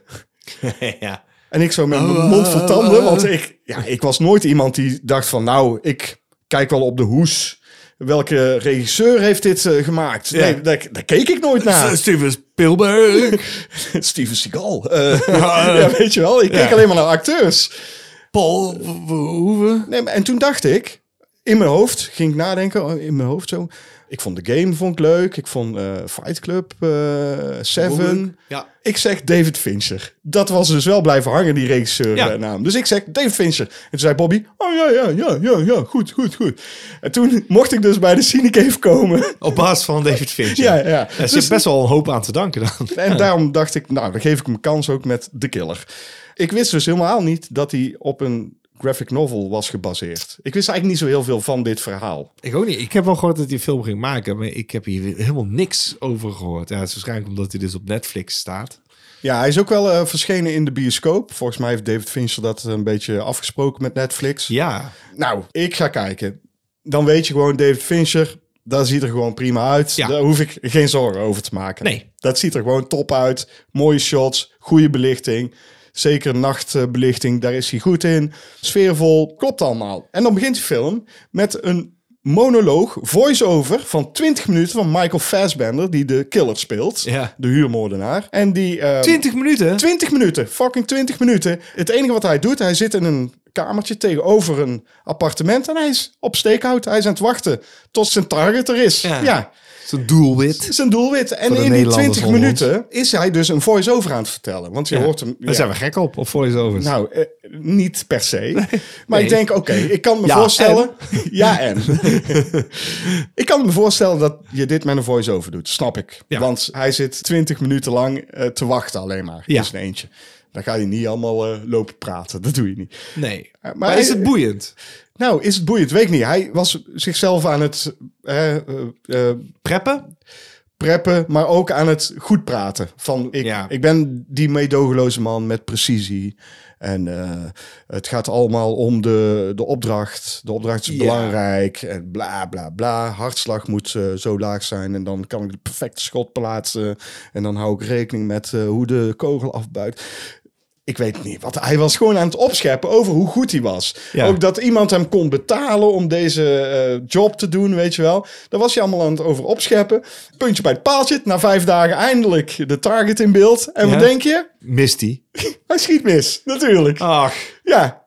S2: ja.
S1: En ik zo met mijn mond vol tanden, want ik, ja, ik was nooit iemand die dacht van... nou, ik kijk wel op de hoes. Welke regisseur heeft dit eh, gemaakt? Nee, daar, daar keek ik nooit naar.
S2: Steven Spielberg.
S1: <laughs> Steven Seagal. Eh, <laughs>
S2: <laughs>
S1: ja, weet je wel, ik keek alleen maar naar acteurs.
S2: Paul Verhoeven.
S1: Nee, maar- en toen dacht ik, in mijn hoofd, ging ik nadenken, oh, in mijn hoofd zo... Ik vond de game vond ik leuk, ik vond eh, Fight Club, eh, Seven...
S2: Ja.
S1: Ik zeg David Fincher. Dat was dus wel blijven hangen, die
S2: Ja.
S1: regisseurnaam. naam. Dus ik zeg David Fincher. En toen zei Bobby, oh ja, ja, ja, ja, ja, goed, goed, goed. En toen <laughs> mocht ik dus bij de Cinecave komen. <laughs>
S2: Op basis van David Fincher.
S1: Ja, ja.
S2: Er zit
S1: Dus-
S2: best wel een hoop aan te danken dan.
S1: En daarom dacht ik, nou, dan geef ik hem kans ook met The Killer. Ik wist dus helemaal niet dat hij op een graphic novel was gebaseerd. Ik wist eigenlijk niet zo heel veel van dit verhaal.
S2: Ik ook niet. Ik heb wel gehoord dat hij een film ging maken, maar ik heb hier helemaal niks over gehoord. Ja, het is waarschijnlijk omdat hij dus op Netflix staat.
S1: Ja, hij is ook wel eh, verschenen in de bioscoop. Volgens mij heeft David Fincher dat een beetje afgesproken met Netflix.
S2: Ja.
S1: Nou, ik ga kijken. Dan weet je gewoon, David Fincher, dat ziet er gewoon prima uit.
S2: Ja.
S1: Daar hoef ik geen zorgen over te maken.
S2: Nee.
S1: Dat ziet er gewoon top uit. Mooie shots, goede belichting. Zeker nachtbelichting, daar is hij goed in. Sfeervol, klopt allemaal. En dan begint de film met een monoloog, voice-over van 20 minuten van Michael Fassbender, die de killer speelt,
S2: Ja.
S1: de huurmoordenaar. En die... eh,
S2: 20 minuten?
S1: 20 minuten, fucking 20 minuten. Het enige wat hij doet, hij zit in een kamertje tegenover een appartement en hij is op steekhout. Hij is aan het wachten tot zijn target er is.
S2: Ja.
S1: Ja,
S2: Zo'n doelwit.
S1: zijn doelwit. En
S2: de
S1: in die
S2: Nederlanders
S1: 20
S2: onder ons.
S1: minuten is hij dus een voice-over aan het vertellen. Want je hoort hem.
S2: Daar
S1: ja.
S2: zijn we gek op, op voice-overs.
S1: Nou, eh, niet per se. Maar
S2: Nee.
S1: ik denk, oké, ik kan me
S2: Ja,
S1: voorstellen... <laughs> Ja, en? ik kan me voorstellen dat je dit met een voice-over doet. Snap ik.
S2: Ja.
S1: Want hij zit 20 minuten lang eh, te wachten alleen maar.
S2: Ja.
S1: Ja. een eentje. Dan ga je niet allemaal eh, lopen praten. Dat doe je niet.
S2: nee. Maar,
S1: maar
S2: is
S1: hij-
S2: het boeiend?
S1: Nou, is het boeiend? Weet ik niet. Hij was zichzelf aan het eh, eh, eh,
S2: Preppen?
S1: preppen, maar ook aan het goed praten. Van ik,
S2: Ja.
S1: ik ben die meedogenloze man met precisie. En eh, het gaat allemaal om de, de opdracht. De opdracht is
S2: Ja.
S1: belangrijk. En bla bla bla. Hartslag moet eh, zo laag zijn. En dan kan ik de perfecte schot plaatsen. En dan hou ik rekening met eh, hoe de kogel afbuigt. Ik weet het niet. Wat hij was gewoon aan het opscheppen over hoe goed hij was.
S2: Ja.
S1: Ook dat iemand hem kon betalen om deze eh, job te doen, weet je wel. Daar was hij allemaal aan het over opscheppen. Puntje bij het paaltje. Na vijf dagen eindelijk de target in beeld. En
S2: Ja.
S1: wat denk je?
S2: Misty.
S1: Hij schiet mis. Natuurlijk.
S2: Ach,
S1: Ja.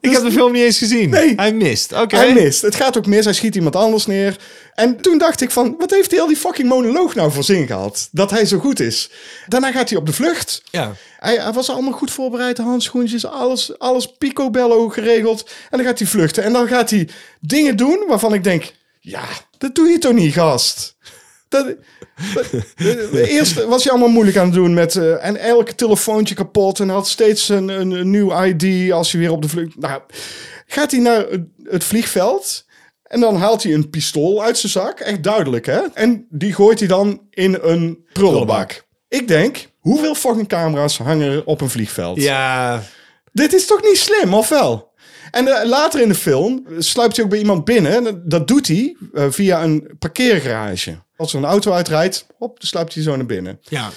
S2: ik heb de film niet eens gezien.
S1: Nee.
S2: Hij mist. Oké.
S1: Hij mist. Het gaat ook mis. Hij schiet iemand anders neer. En toen dacht ik van, wat heeft heel die fucking monoloog nou voor zin gehad? Dat hij zo goed is. Daarna gaat hij op de vlucht.
S2: Ja.
S1: Hij, hij was allemaal goed voorbereid, de handschoentjes, alles, alles picobello geregeld. En dan gaat hij vluchten. En dan gaat hij dingen doen waarvan ik denk, ja, dat doe je toch niet, gast? Dat, dat- <laughs> eerst was hij allemaal moeilijk aan het doen met... eh, en elke telefoontje kapot en had steeds een, een, een nieuw ID als hij weer op de vlucht... Nou, gaat hij naar het- het vliegveld en dan haalt hij een pistool uit zijn zak. Echt duidelijk, hè? En die gooit hij dan in een prullenbak. Ik denk, hoeveel fucking camera's hangen er op een vliegveld?
S2: Ja.
S1: Dit is toch niet slim, of wel? En eh, later in de film sluipt hij ook bij iemand binnen. En dat- Dat doet hij eh, via een parkeergarage. Als er een auto uitrijdt, hop, dan sluipt hij zo naar binnen.
S2: Ja.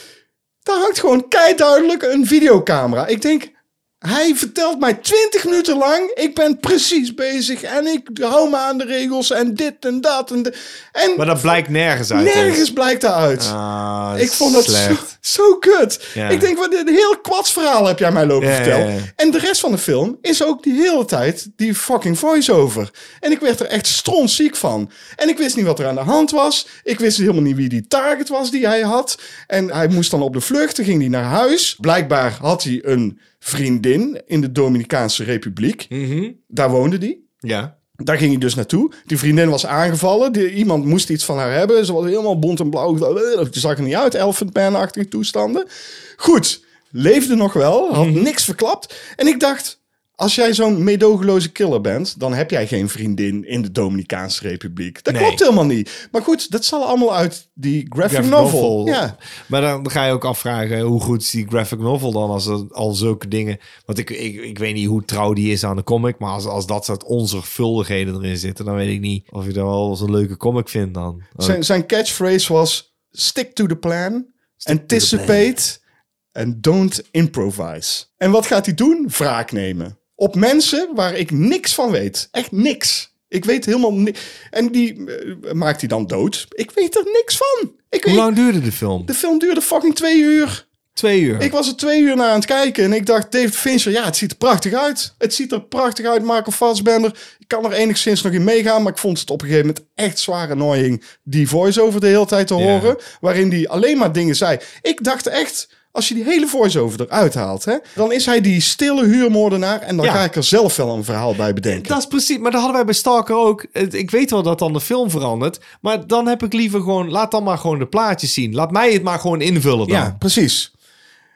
S1: Daar hangt gewoon keiduidelijk een videocamera. Ik denk, Hij vertelt mij twintig minuten lang, ik ben precies bezig en ik hou me aan de regels en dit en dat. En, de- en
S2: Maar dat blijkt nergens uit.
S1: nergens blijkt daaruit.
S2: Ah,
S1: ik vond dat zo,
S2: slecht.
S1: zo kut.
S2: Ja.
S1: Ik denk, wat een heel kwatsverhaal heb jij mij lopen
S2: Ja,
S1: verteld.
S2: ja, ja.
S1: En de rest van de film is ook die hele tijd die fucking voice-over. En ik werd er echt strontziek van. En ik wist niet wat er aan de hand was. Ik wist helemaal niet wie die target was die hij had. En hij moest dan op de vlucht. Toen ging hij naar huis. Blijkbaar had hij een vriendin in de Dominicaanse Republiek.
S2: Mhm.
S1: Daar woonde hij.
S2: Ja.
S1: Daar ging hij dus naartoe. Die vriendin was aangevallen. Die, iemand moest iets van haar hebben. Ze was helemaal bont en blauw. Ze zag er niet uit. Elephant Man-achtige toestanden. Goed, leefde nog wel. Had
S2: Mhm.
S1: niks verklapt. En ik dacht, als jij zo'n meedogenloze killer bent... dan heb jij geen vriendin in de Dominicaanse Republiek. Dat
S2: Nee.
S1: klopt helemaal niet. Maar goed, dat zal allemaal uit die graphic,
S2: Graphic
S1: novel.
S2: novel.
S1: Ja.
S2: Maar dan ga je ook afvragen eh, hoe goed is die graphic novel dan als er al zulke dingen. Want ik, ik, ik weet niet hoe trouw die is aan de comic. Maar als, als dat soort onzorgvuldigheden erin zitten, dan weet ik niet of je dat wel als een leuke comic vindt dan. Eh, Ook.
S1: Zijn, zijn catchphrase was... Stick to the plan. anticipate. En don't improvise. En wat gaat hij doen? Wraak nemen. Op mensen waar ik niks van weet. Echt niks. Ik weet helemaal niks. En die eh, maakt hij dan dood. Ik weet er niks van. Ik,
S2: Hoe
S1: ik-
S2: lang duurde de film?
S1: de film duurde fucking twee uur.
S2: Twee uur.
S1: Ik was er twee uur naar aan het kijken. En ik dacht, David Fincher, ja, het ziet er prachtig uit. Het ziet er prachtig uit, Michael Fassbender. Ik kan er enigszins nog in meegaan. Maar ik vond het op een gegeven moment echt zware annoying. Die voice-over de hele tijd te horen. Waarin hij alleen maar dingen zei. Ik dacht echt, als je die hele voice-over eruit haalt... Hè, dan is hij die stille huurmoordenaar. En dan
S2: Ja.
S1: ga ik er zelf wel een verhaal bij bedenken.
S2: Dat is precies, maar dat hadden wij bij Stalker ook. Het- Ik weet wel dat dan de film verandert, maar dan heb ik liever gewoon, laat dan maar gewoon de plaatjes zien. Laat mij het maar gewoon invullen dan.
S1: Ja, precies.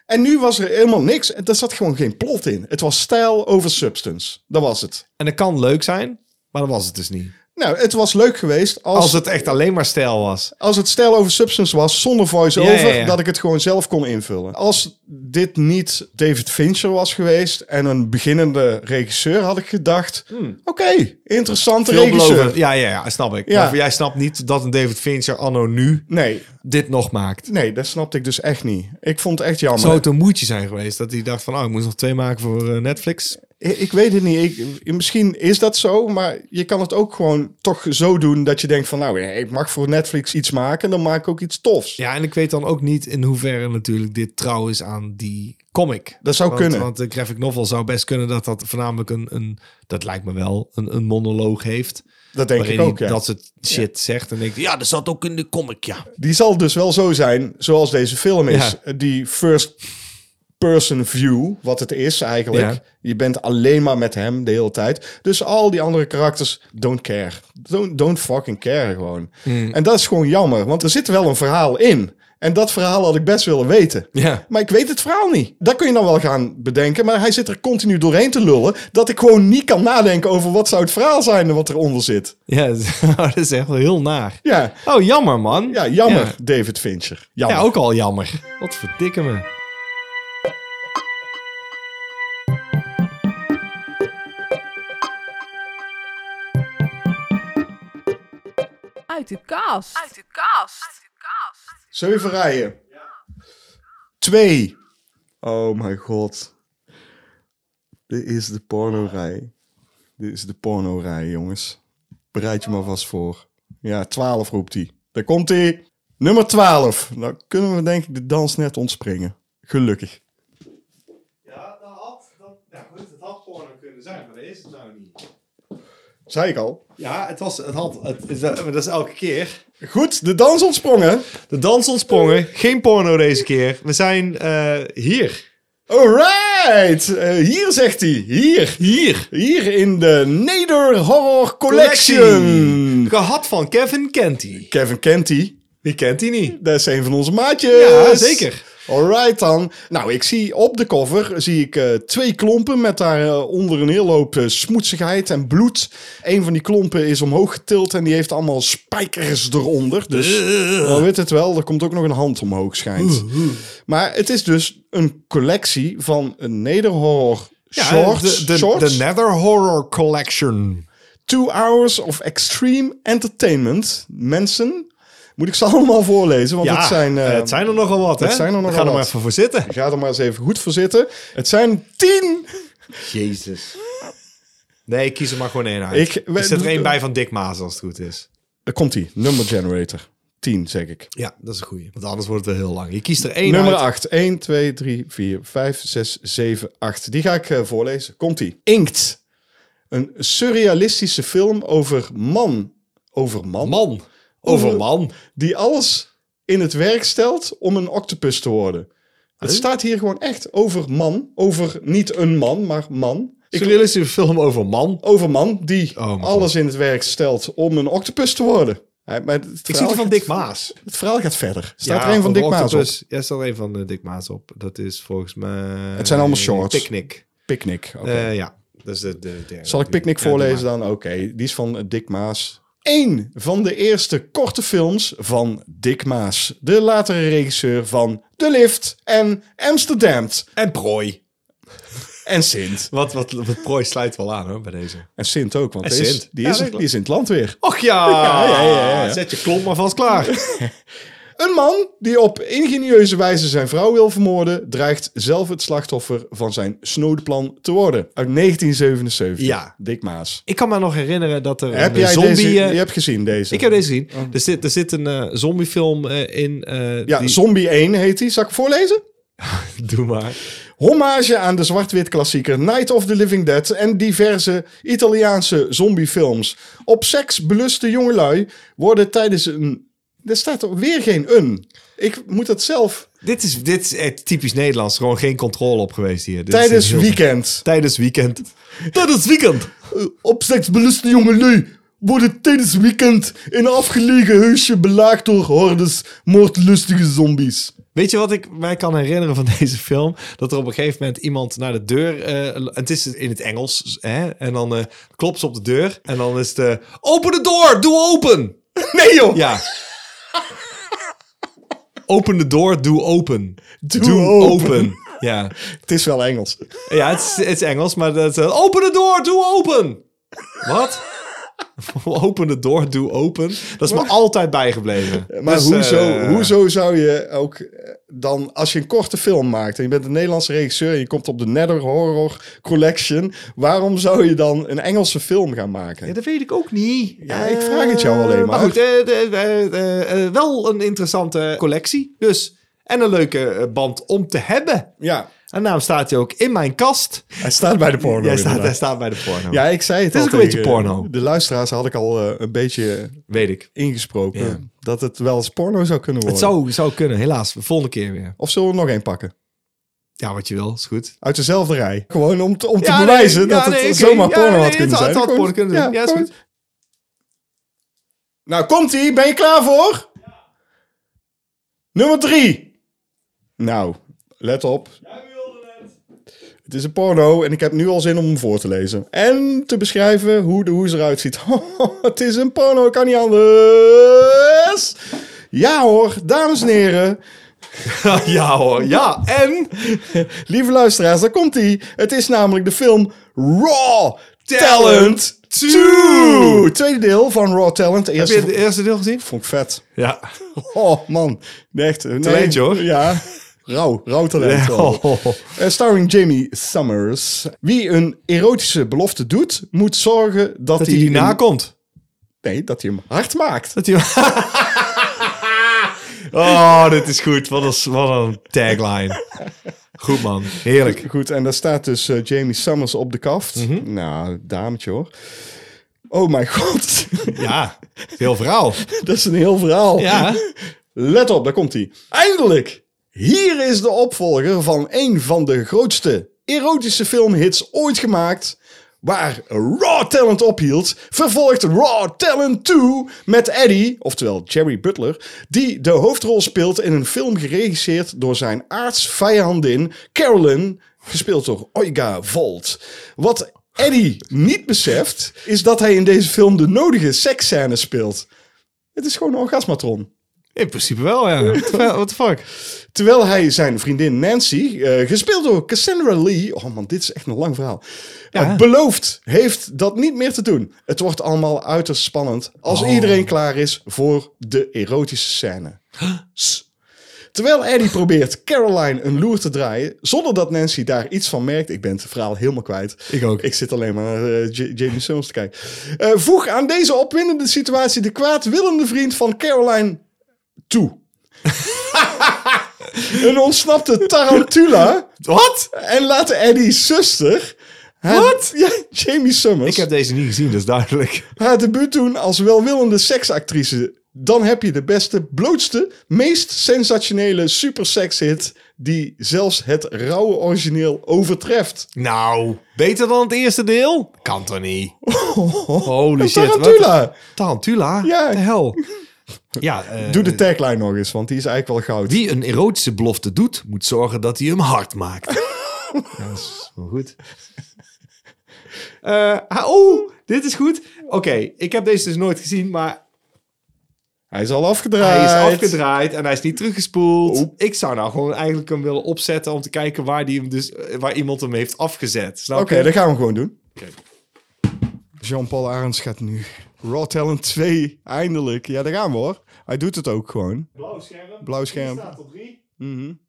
S1: En nu was er helemaal niks. Er zat gewoon geen plot in. Het was stijl over substance. Dat was het.
S2: En dat kan leuk zijn, maar dat was het dus niet.
S1: Nou, het was leuk geweest als,
S2: Als het echt alleen maar stijl was.
S1: als het stijl over substance was, zonder voice-over,
S2: Ja, ja, ja.
S1: dat ik het gewoon zelf kon invullen. Als dit niet David Fincher was geweest en een beginnende regisseur, had ik gedacht, oké, interessante regisseur.
S2: Hmm. Veelbelovend. Ja, ja, ja, snap ik.
S1: Ja.
S2: Maar jij snapt niet dat een David Fincher anno nu
S1: Nee,
S2: dit nog maakt.
S1: nee, dat snapte ik dus echt niet. Ik vond het echt jammer.
S2: Zou het een moedje zijn geweest dat hij dacht van, oh, ik moet nog twee maken voor eh, Netflix.
S1: Ik, ik weet het niet. Ik, misschien is dat zo, maar je kan het ook gewoon toch zo doen dat je denkt van, nou, ik mag voor Netflix iets maken, dan maak ik ook iets tofs.
S2: Ja, en ik weet dan ook niet in hoeverre natuurlijk dit trouw is aan die comic.
S1: Dat zou
S2: want,
S1: kunnen.
S2: Want de graphic novel zou best kunnen dat dat voornamelijk een, een dat lijkt me wel, een, een monoloog heeft.
S1: Dat denk
S2: waarin
S1: ik ook,
S2: hij
S1: ja.
S2: Dat soort shit zegt en denkt, ja, dat zat ook in de comic, ja.
S1: Die zal dus wel zo zijn zoals deze film is.
S2: Ja.
S1: Die first person view, wat het is eigenlijk.
S2: Ja.
S1: Je bent alleen maar met hem de hele tijd. Dus al die andere karakters, don't care. Don't, don't fucking care gewoon.
S2: Hmm.
S1: En dat is gewoon jammer, want er zit wel een verhaal in. En dat verhaal had ik best willen weten.
S2: Ja.
S1: Maar ik weet het verhaal niet. Dat kun je dan wel gaan bedenken. Maar hij zit er continu doorheen te lullen. Dat ik gewoon niet kan nadenken over wat zou het verhaal zijn wat eronder zit.
S2: <laughs> Ja, dat is echt wel heel naar.
S1: Ja,
S2: Oh, jammer, man.
S1: ja jammer,
S2: Ja.
S1: David Fincher. Jammer.
S2: Ja, ook al jammer. Wat verdikken me.
S6: Uit de kast.
S1: Zeven rijen. Twee. Oh mijn god. Dit is de porno-rij. Dit is de porno-rij, jongens. Bereid je maar vast voor. Ja, 12 roept hij. Daar komt hij. Nummer 12. Nou kunnen we denk ik de dans net ontspringen. Gelukkig.
S2: Ja, dat had, dat, ja goed, het had porno kunnen zijn, maar dat is het nou niet.
S1: Zei ik al.
S2: Ja, het was, het had, het, is- maar dat is elke keer.
S1: Goed, de dans ontsprongen.
S2: De dans ontsprongen, geen porno deze keer. We zijn eh, hier.
S1: Alright. Eh, hier zegt hij. Hier.
S2: Hier.
S1: Hier in de Neder Horror
S2: Collection.
S1: Collection.
S2: Gehad van Kevin Kenty.
S1: Kevin Kenty.
S2: Die kent hij niet.
S1: Dat is een van onze maatjes.
S2: Ja, zeker.
S1: Alright dan. Nou, ik zie op de cover zie ik, eh, twee klompen met daaronder een hele hoop eh, smoetsigheid en bloed. Een van die klompen is omhoog getild en die heeft allemaal spijkers eronder. Dus
S2: Eh.
S1: dan weet het wel, er komt ook nog een hand omhoog schijnt. Maar het is dus een collectie van een nederhorror shorts.
S2: de, de,
S1: shorts.
S2: de Nether Horror Collection.
S1: Two Hours of Extreme Entertainment. Mensen Moet ik ze <laughs> allemaal voorlezen? Want
S2: ja,
S1: het zijn... eh,
S2: eh, het zijn er nogal wat, hè?
S1: het zijn er nogal
S2: Ga er maar
S1: wat.
S2: even voor zitten.
S1: Ik ga er maar eens even goed voor zitten. Het zijn tien.
S2: Jezus. Nee, ik kies er maar gewoon één uit.
S1: Ik-
S2: Ik, er zit er één bij van Dick Maas, als het goed is.
S1: Daar komt die. Number generator. Tien, zeg ik.
S2: Ja, dat is een goeie. Want anders wordt het wel heel lang. Je kiest er één
S1: Nummer
S2: uit.
S1: 8. 1, 2, 3, 4, 5, 6, 7, 8. Die ga ik eh, voorlezen. Komt-ie. Inkt. Een surrealistische film over man. Over man?
S2: Man. Over man.
S1: Die alles in het werk stelt om een octopus te worden. Het staat hier gewoon echt over man. Over niet een man, maar man. Ik wil
S2: een film over man.
S1: over man die
S2: Oh, mijn
S1: alles in het werk stelt om een octopus te worden. Hij- maar het
S2: Ik zie
S1: verhaal
S2: er van
S1: gaat-
S2: Dick Maas.
S1: Het verhaal gaat verder. Staat er een van Dick Maas op?
S2: Ja, er staat er een van eh, Dick Maas op. Dat is volgens mij...
S1: Het zijn allemaal shorts.
S2: Picnic.
S1: Picnic. Oké.
S2: Eh, ja, dat is de, de derde.
S1: Zal ik Picnic
S2: Ja, doe
S1: voorlezen
S2: maar.
S1: dan? Oké, die is van eh, Dick Maas. Eén van de eerste korte films van Dick Maas. De latere regisseur van De Lift en Amsterdam.
S2: En prooi.
S1: En Sint.
S2: Wat, wat, wat prooi sluit wel aan hoor, bij deze.
S1: En Sint ook, want
S2: En
S1: die is-
S2: Sint.
S1: Die,
S2: Ja,
S1: is,
S2: dat
S1: er-
S2: klopt.
S1: die is in het land weer.
S2: Och ja!
S1: ja, ja, ja.
S2: Zet je klomp maar vast klaar.
S1: Een man die op ingenieuze wijze zijn vrouw wil vermoorden... dreigt zelf het slachtoffer van zijn snode plan te worden. Uit 1977.
S2: Ja.
S1: Dick Maas.
S2: <laughs> ik kan me nog herinneren dat er
S1: Heb
S2: een
S1: jij
S2: zombie...
S1: deze...
S2: eh,
S1: Je hebt gezien deze.
S2: ik heb deze gezien. Er zit, er zit een eh, zombiefilm eh, in. eh,
S1: Ja,
S2: die-
S1: Zombie 1 heet die. Zal ik hem voorlezen?
S2: <laughs> Doe maar.
S1: Hommage aan de zwart-wit klassieker Night of the Living Dead en diverse Italiaanse zombiefilms. Op seks beluste jongelui worden tijdens een... Er staat er weer geen een. Ik moet dat zelf.
S2: Dit is, dit is echt typisch Nederlands. Gewoon geen controle op geweest hier. Dit is
S1: Tijdens
S2: heel-
S1: weekend. Eh,
S2: Tijdens weekend. Tijdens weekend.
S1: Op seks beluste jongelui worden tijdens weekend in een afgelegen huisje belaagd door hordes moordlustige zombies.
S2: Weet je wat ik mij kan herinneren van <laughs> deze film? Dat er op een gegeven moment iemand naar de deur... eh, en het is in het Engels. Hè? En dan eh, klopt ze op de deur. En dan is het... eh, open de door! Doe open!
S1: Nee joh! <laughs>
S2: Ja. open de door, doe open.
S1: Doe open.
S2: Ja,
S1: Het is wel Engels.
S2: ja het, is, het is Engels, maar dat, eh, open de door, doe open.
S1: <laughs>
S2: Wat? open de door, doe open. Dat is me altijd bijgebleven.
S1: Maar
S2: Dus,
S1: hoezo,
S2: eh,
S1: hoezo zou je ook eh, dan, als je een korte film maakt en je bent een Nederlandse regisseur en je komt op de Nether Horror Collection, waarom zou je dan een Engelse film gaan maken?
S2: Ja, dat weet ik ook niet.
S1: Ja, ik vraag het jou alleen maar.
S2: Maar goed, eh, eh, eh, eh, wel een interessante collectie dus. En een leuke eh, band om te hebben.
S1: Ja,
S2: En daarom staat hij ook in mijn kast.
S1: hij staat bij de porno.
S2: Jij staat,
S1: inderdaad.
S2: hij staat bij de porno.
S1: ja, ik zei het,
S2: Het
S1: al
S2: is ook een beetje
S1: tegen,
S2: porno.
S1: eh, De luisteraars had ik al eh, een beetje
S2: Weet ik.
S1: ingesproken
S2: Ja.
S1: dat het wel eens porno zou kunnen
S2: Het
S1: worden.
S2: zou, zou kunnen, helaas. De volgende keer weer.
S1: Of zullen we er nog één pakken?
S2: Ja, wat je wil, is goed.
S1: Uit dezelfde rij. Gewoon om te, om te bewijzen dat het zomaar porno had kunnen zijn.
S2: Het had
S1: Gewoon-
S2: porno kunnen zijn. Ja, is
S1: gewoon-
S2: goed.
S1: Nou, komt ie. Ben je klaar voor? Nummer drie. Nou, let op. Het is een porno en ik heb nu al zin om hem voor te lezen. En te beschrijven hoe de hoes eruit ziet. <laughs> het is een porno, kan niet anders. Ja hoor, dames en heren.
S2: <laughs> ja hoor, ja. En
S1: Lieve luisteraars, daar komt hij. Het is namelijk de film Raw Talent 2. Tweede deel van Raw Talent.
S2: heb
S1: Eerste
S2: je het eerste deel gezien?
S1: vond ik vet.
S2: Ja.
S1: Oh man, echt. Nee.
S2: Talentje, hoor.
S1: Ja, rauw, rauw talent. wel. Eh, starring Jamie Summers. Wie een erotische belofte doet, moet zorgen dat,
S2: <laughs> Dat hij die
S1: hem-
S2: nakomt.
S1: Nee, dat hij hem hard maakt.
S2: Dat hij... <laughs> oh, dit is goed. Wat een, wat een tagline. Goed man, heerlijk.
S1: Goed, en daar staat dus eh, Jamie Summers op de kaft.
S2: Mhm.
S1: Nou, dametje hoor. Oh mijn <laughs> god,
S2: Ja, heel verhaal.
S1: <laughs> dat is een heel verhaal.
S2: Ja.
S1: Let op, daar komt hij. Eindelijk! Hier is de opvolger van een van de grootste erotische filmhits ooit gemaakt. Waar Raw Talent ophield, vervolgt Raw Talent 2 met Eddie, oftewel Jerry Butler, die de hoofdrol speelt in een film geregisseerd door zijn aartsvijandin Carolyn, gespeeld door Oiga Volt. Wat Eddie niet beseft, is dat hij in deze film de nodige seksscènes speelt. Het is gewoon een orgasmatron.
S2: In principe wel, ja. What the fuck?
S1: Terwijl hij zijn vriendin Nancy, eh, gespeeld door Cassandra Lee, oh man, dit is echt een lang verhaal, eh, belooft heeft dat niet meer te doen. Het wordt allemaal uiterst spannend als iedereen klaar is voor de erotische scène. S. Terwijl Eddie probeert Caroline een loer te draaien, zonder dat Nancy daar iets van merkt. Ik ben het verhaal helemaal kwijt.
S2: Ik ook.
S1: Ik zit alleen maar naar eh, J- Jamie Simmons te kijken. Eh, voeg aan deze opwindende situatie de kwaadwillende vriend van Caroline toe. <laughs> een ontsnapte tarantula.
S2: Wat?
S1: En laat Eddie's zuster... Wat? Ja, Jamie Summers.
S2: Ik heb deze niet gezien, dat is duidelijk.
S1: haar debuut doen als welwillende seksactrice. Dan heb je de beste, blootste, meest sensationele supersekshit... die zelfs het rauwe origineel overtreft.
S2: Nou, beter dan het eerste deel? Kan toch niet? Holy
S1: Een
S2: shit. wat-
S1: tarantula.
S2: Tarantula?
S1: Ja.
S2: De hel. Ja, eh,
S1: Doe de tagline nog eens, want die is eigenlijk wel goud.
S2: Wie een erotische belofte doet, moet zorgen dat hij hem hard maakt. <laughs> Ja, dat is wel goed. Eh, ah, oh, dit is goed. Oké, ik heb deze dus nooit gezien, maar
S1: Hij is al afgedraaid.
S2: hij is afgedraaid en hij is niet teruggespoeld.
S1: Oep.
S2: Ik zou nou gewoon eigenlijk hem willen opzetten om te kijken waar, die hem dus, eh, waar iemand hem heeft afgezet. Snap
S1: Oké,
S2: je?
S1: dat gaan we gewoon doen.
S2: Oké.
S1: Jean-Paul Arends gaat nu Raw Talent 2 eindelijk. Ja, daar gaan we hoor. Hij doet het ook gewoon.
S2: Blauw scherm.
S1: Blauw scherm.
S2: Hier staat op drie.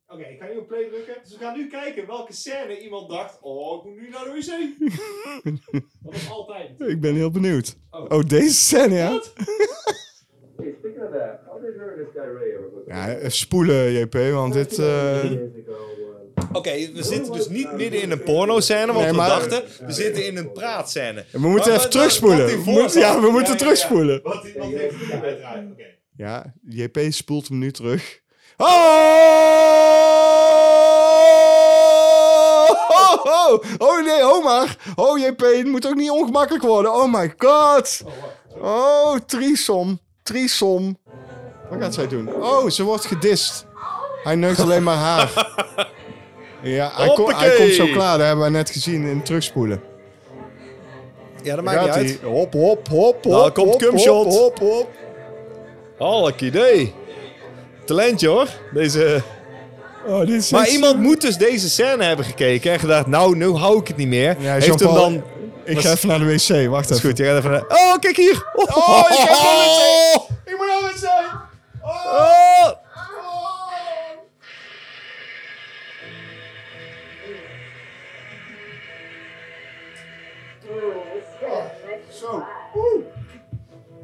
S2: Oké, ik ga nu op play drukken. Dus we gaan nu kijken welke scène iemand dacht... Oh, ik moet nu naar de wc. dat is altijd.
S1: Ik ben heel benieuwd. Oh, deze scène, ja.
S7: Hey, speaking of that, how did her and this guy Ray ever hook up?
S1: <laughs> Ja, even spoelen, JP, want dit... eh,
S7: Years ago, uh,
S2: Oké, we zitten dus niet midden in een porno-scène, want
S1: Nee, maar-
S2: we dachten, we zitten in een praatscène.
S1: We moeten even terugspoelen. We moeten- ja, we moeten terugspoelen.
S2: Wat die- wat heeft hij uiteraard? Oké.
S1: Ja, JP spoelt hem nu terug. Oh! Oh, oh, oh nee, Omar. Oh JP, het moet ook niet ongemakkelijk worden. Oh my god. Oh, trisom. Trisom. Wat gaat zij doen? Oh, ze wordt gedist. Hij neukt alleen maar
S2: <laughs>
S1: haar. Ja, hij, ko- hij
S2: Hoppakee.
S1: komt zo klaar. Dat hebben we net gezien in terugspoelen.
S2: Ja, dat maakt niet
S1: Gaat
S2: uit.
S1: hij? Hop, hop, hop, hop.
S2: Nou, komt
S1: hop,
S2: cumshot.
S1: Hop, hop, hop.
S2: Halk idee. Talentje hoor, deze...
S1: Oh, dit is
S2: Maar
S1: echt-
S2: iemand moet dus deze scène hebben gekeken en gedacht, nou, nu hou ik het niet meer.
S1: Ja,
S2: heeft hem
S1: Jean-Paul,
S2: dan...
S1: Ik ga even naar de wc. Wacht
S2: Dat is
S1: even.
S2: goed, je gaat even naar- Oh, kijk hier! Oh,
S1: ik ga naar de
S2: Ik moet naar zijn! Oh!
S1: Zo. Oeh.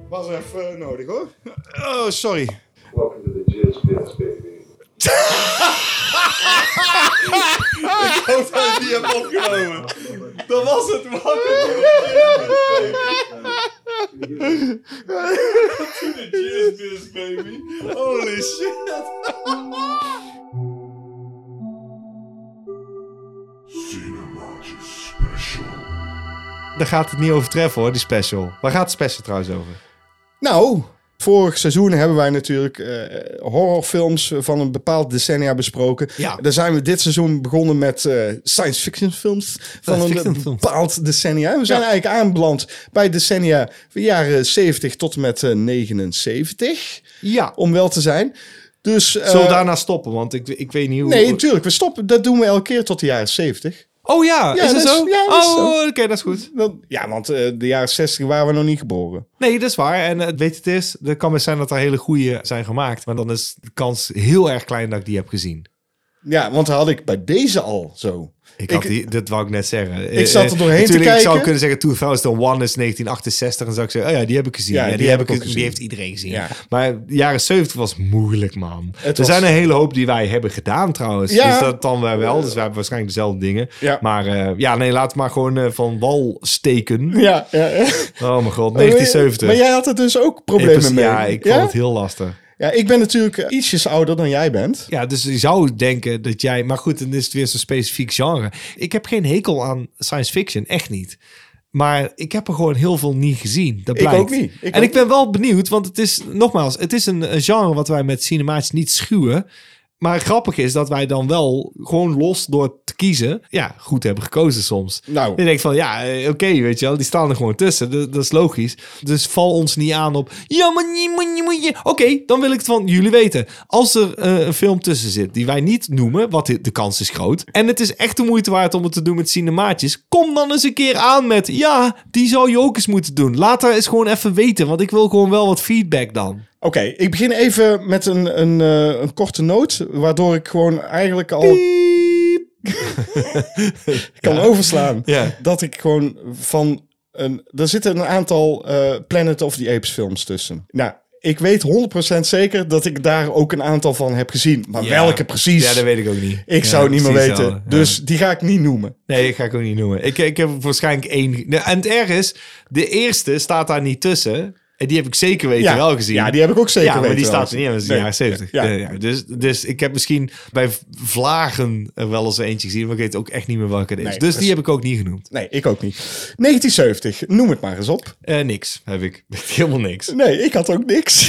S1: Was even eh, nodig hoor. Oh, sorry.
S7: welcome to the jizz fest, baby.
S2: Die heb opgenomen. Dat was het, man. baby. Holy shit.
S3: Cinemage Special.
S2: Daar gaat het niet over treffen hoor, die special. Waar gaat de special trouwens over?
S1: Nou, vorig seizoen hebben wij natuurlijk eh, horrorfilms van een bepaald decennia besproken.
S2: Ja.
S1: Daar zijn we dit seizoen begonnen met eh, science fiction films van een
S2: fiction films.
S1: bepaald decennia. En we zijn eigenlijk aanbeland bij decennia van jaren 70 tot en met eh, 79,
S2: Ja.
S1: om wel te zijn. Dus, eh,
S2: Zullen we daarna stoppen? Want ik, ik weet niet hoe...
S1: Nee, natuurlijk. We stoppen. Dat doen we elke keer tot de jaren 70.
S2: Oh ja,
S1: Ja, dat
S2: is dat
S1: is-
S2: zo?
S1: ja, dat is
S2: oh,
S1: zo.
S2: oké, dat is goed.
S1: Dan- ja, want eh, de jaren 60 waren we nog niet geboren.
S2: Nee, dat is waar. En eh, weet je, het is, er kan best zijn dat er hele goede zijn gemaakt. Maar dan is de kans heel erg klein dat ik die heb gezien.
S1: Ja, want had ik bij deze al zo.
S2: Ik had
S1: Ik-
S2: die, dat wou ik net zeggen.
S1: Ik zat er
S2: Eh, eh,
S1: doorheen te
S2: natuurlijk, Ik zou
S1: kijken.
S2: kunnen zeggen 2001 is 1968 en zou ik zeggen, oh ja, die heb ik gezien.
S1: Ja,
S2: Ja, die,
S1: die heb
S2: heb
S1: ik
S2: ik,
S1: ook
S2: gezien.
S1: gezien.
S2: die heeft iedereen gezien.
S1: Ja.
S2: Maar de jaren 70 was moeilijk, man. er
S1: was-
S2: zijn een hele hoop die wij hebben gedaan trouwens.
S1: Ja.
S2: Dus dat dan wij wel. Dus wij hebben waarschijnlijk dezelfde dingen.
S1: Ja.
S2: Maar eh, ja, nee, laat maar gewoon eh, van wal steken.
S1: Ja, ja.
S2: Oh mijn god, 1970.
S1: Maar jij had er dus ook
S2: Ik
S1: problemen
S2: was-
S1: mee.
S2: Ja, ik vond het heel lastig.
S1: Ja, ik ben natuurlijk eh, ietsjes ouder dan jij bent.
S2: Ja, dus je zou denken dat jij... Maar goed, dan is het weer zo'n specifiek genre. Ik heb geen hekel aan science fiction, echt niet. Maar ik heb er gewoon heel veel niet gezien. Dat
S1: Ik
S2: blijkt.
S1: ook niet. Ik
S2: en
S1: ook
S2: ik ben wel benieuwd, want het is, nogmaals, het is een, een genre wat wij met cinemaatjes niet schuwen. Maar grappig is dat wij dan wel gewoon los door te kiezen, ja, goed hebben gekozen soms.
S1: Nou.
S2: Je denkt van, ja, eh, oké, weet je wel, die staan er gewoon tussen. Dat, dat is logisch. Dus val ons niet aan op, ja, maar niet, maar niet, maar niet. Oké, dan wil ik het van jullie weten. Als er eh, een film tussen zit die wij niet noemen, wat de de kans is groot. En het is echt de moeite waard om het te doen met cinemaatjes. Kom dan eens een keer aan met, ja, die zou je ook eens moeten doen. Laat daar eens gewoon even weten, want ik wil gewoon wel wat feedback dan.
S1: Oké, ik begin even met een, een, eh, een korte noot, waardoor ik gewoon eigenlijk al kan overslaan.
S2: Ja.
S1: Dat ik gewoon van... Een, er zitten een aantal eh, Planet of the Apes films tussen. Nou, ik weet 100% zeker dat ik daar ook een aantal van heb gezien. Maar
S2: Ja.
S1: welke precies?
S2: Ja, dat weet ik ook niet.
S1: Ik
S2: Ja,
S1: zou het niet meer
S2: precies
S1: weten.
S2: wel, ja.
S1: Dus die ga ik niet noemen.
S2: Nee, dat ga ik ook niet noemen. Ik, ik heb waarschijnlijk één. Nee, En het erg is, de eerste staat daar niet tussen. En die heb ik zeker weten
S1: ja.
S2: wel gezien.
S1: Ja, die heb ik ook zeker
S2: Ja, maar
S1: weten
S2: die
S1: wel
S2: staat er
S1: gezien.
S2: niet in. Dat is de
S1: Nee.
S2: jaren 70.
S1: Ja.
S2: Ja. ja. Dus, dus ik heb misschien bij Vlagen er wel eens eentje gezien. Maar ik weet ook echt niet meer welke het is.
S1: Nee,
S2: dus
S1: precies.
S2: die heb ik ook niet genoemd.
S1: Nee, ik ook niet. 1970, noem het maar eens op.
S2: Eh, niks heb ik. <laughs> Helemaal niks.
S1: Nee, ik had ook
S2: <laughs>
S1: niks.